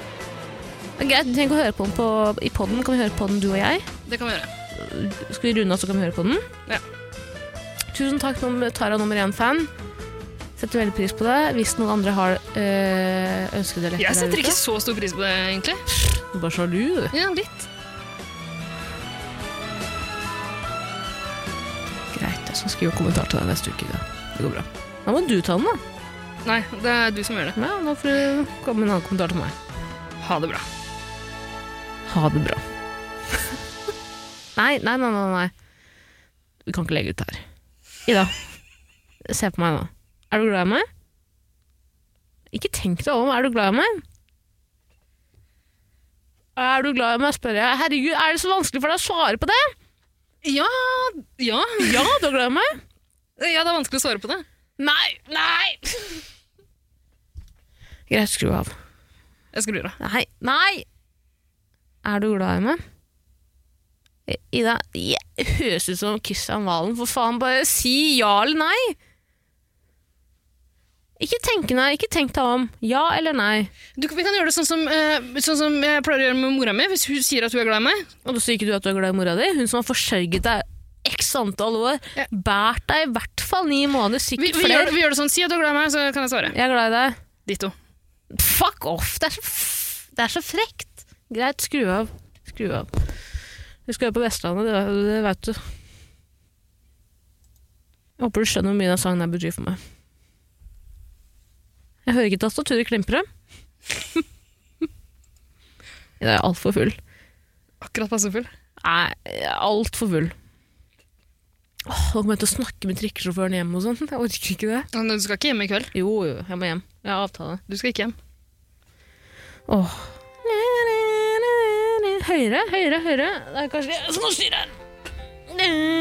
B: Greit, vi trenger ikke å høre på den på, i podden. Kan vi høre på den, du og jeg?
A: Det kan vi gjøre.
B: Skal vi runde av, så kan vi høre på den?
A: Ja.
B: Tusen takk, nummer- Tara nummer én-fan. Setter veldig pris på det. Hvis noen andre har øh, ønsket det
A: Jeg setter ikke så stor pris på det, egentlig.
B: Bare sjalu, du.
A: Ja, litt.
B: Greit, jeg skal skrive kommentar til deg neste uke. Da. Det går bra. Da må du ta den, da.
A: Nei, det er du som gjør det.
B: Ja, nå får du komme med en annen kommentar til meg.
A: Ha det bra.
B: Ha det bra. nei, nei, nei, nei, nei. Vi kan ikke legge ut det her. Ida, se på meg nå. Er du glad i meg? Ikke tenk deg om. Er du glad i meg? Er du glad i meg, spør jeg. Herregud, er det så vanskelig for deg å svare på det?
A: Ja, ja.
B: Ja, du er glad i meg.
A: Ja, det er vanskelig å svare på det.
B: Nei, nei! Greit, skru av.
A: Jeg skrur av.
B: Nei, nei! Er du glad i meg? Ida, jeg høres ut som Kristian Valen, for faen, bare si ja eller nei! Ikke tenk nei, ikke tenk deg om. Ja eller nei.
A: Du, vi kan gjøre det sånn som, eh, sånn som jeg pleier å gjøre med mora mi. Hvis hun sier at hun er glad i meg,
B: Og da sier ikke du at du er glad i mora di? Hun som har forsørget deg x antall år,
A: Ja.
B: bært deg i hvert fall ni måneder,
A: vi,
B: sikkert
A: vi,
B: flere.
A: gjør, vi gjør det sånn. Si at du er glad i meg, så kan jeg svare.
B: Jeg er glad i deg.
A: Ditto.
B: Fuck off! Det er så, f- det er så frekt. Greit, skru av. Skru av. Vi skal jo på Vestlandet, det, det veit du. Jeg håper du skjønner hvor mye den sangen her betyr for meg. Jeg hører ikke tastaturet klimpre. Jeg er altfor full.
A: Akkurat passe full.
B: Nei, jeg er altfor full. Åh, nå kommer jeg til å snakke med trikkesjåføren hjem og sånn. Jeg orker ikke det.
A: Men Du skal ikke hjem i kveld.
B: Jo, jo, jeg må hjem. Jeg har avtale.
A: Du skal ikke hjem.
B: Åh. Høyere, høyere, høyere. Det er kanskje jeg som må styre her.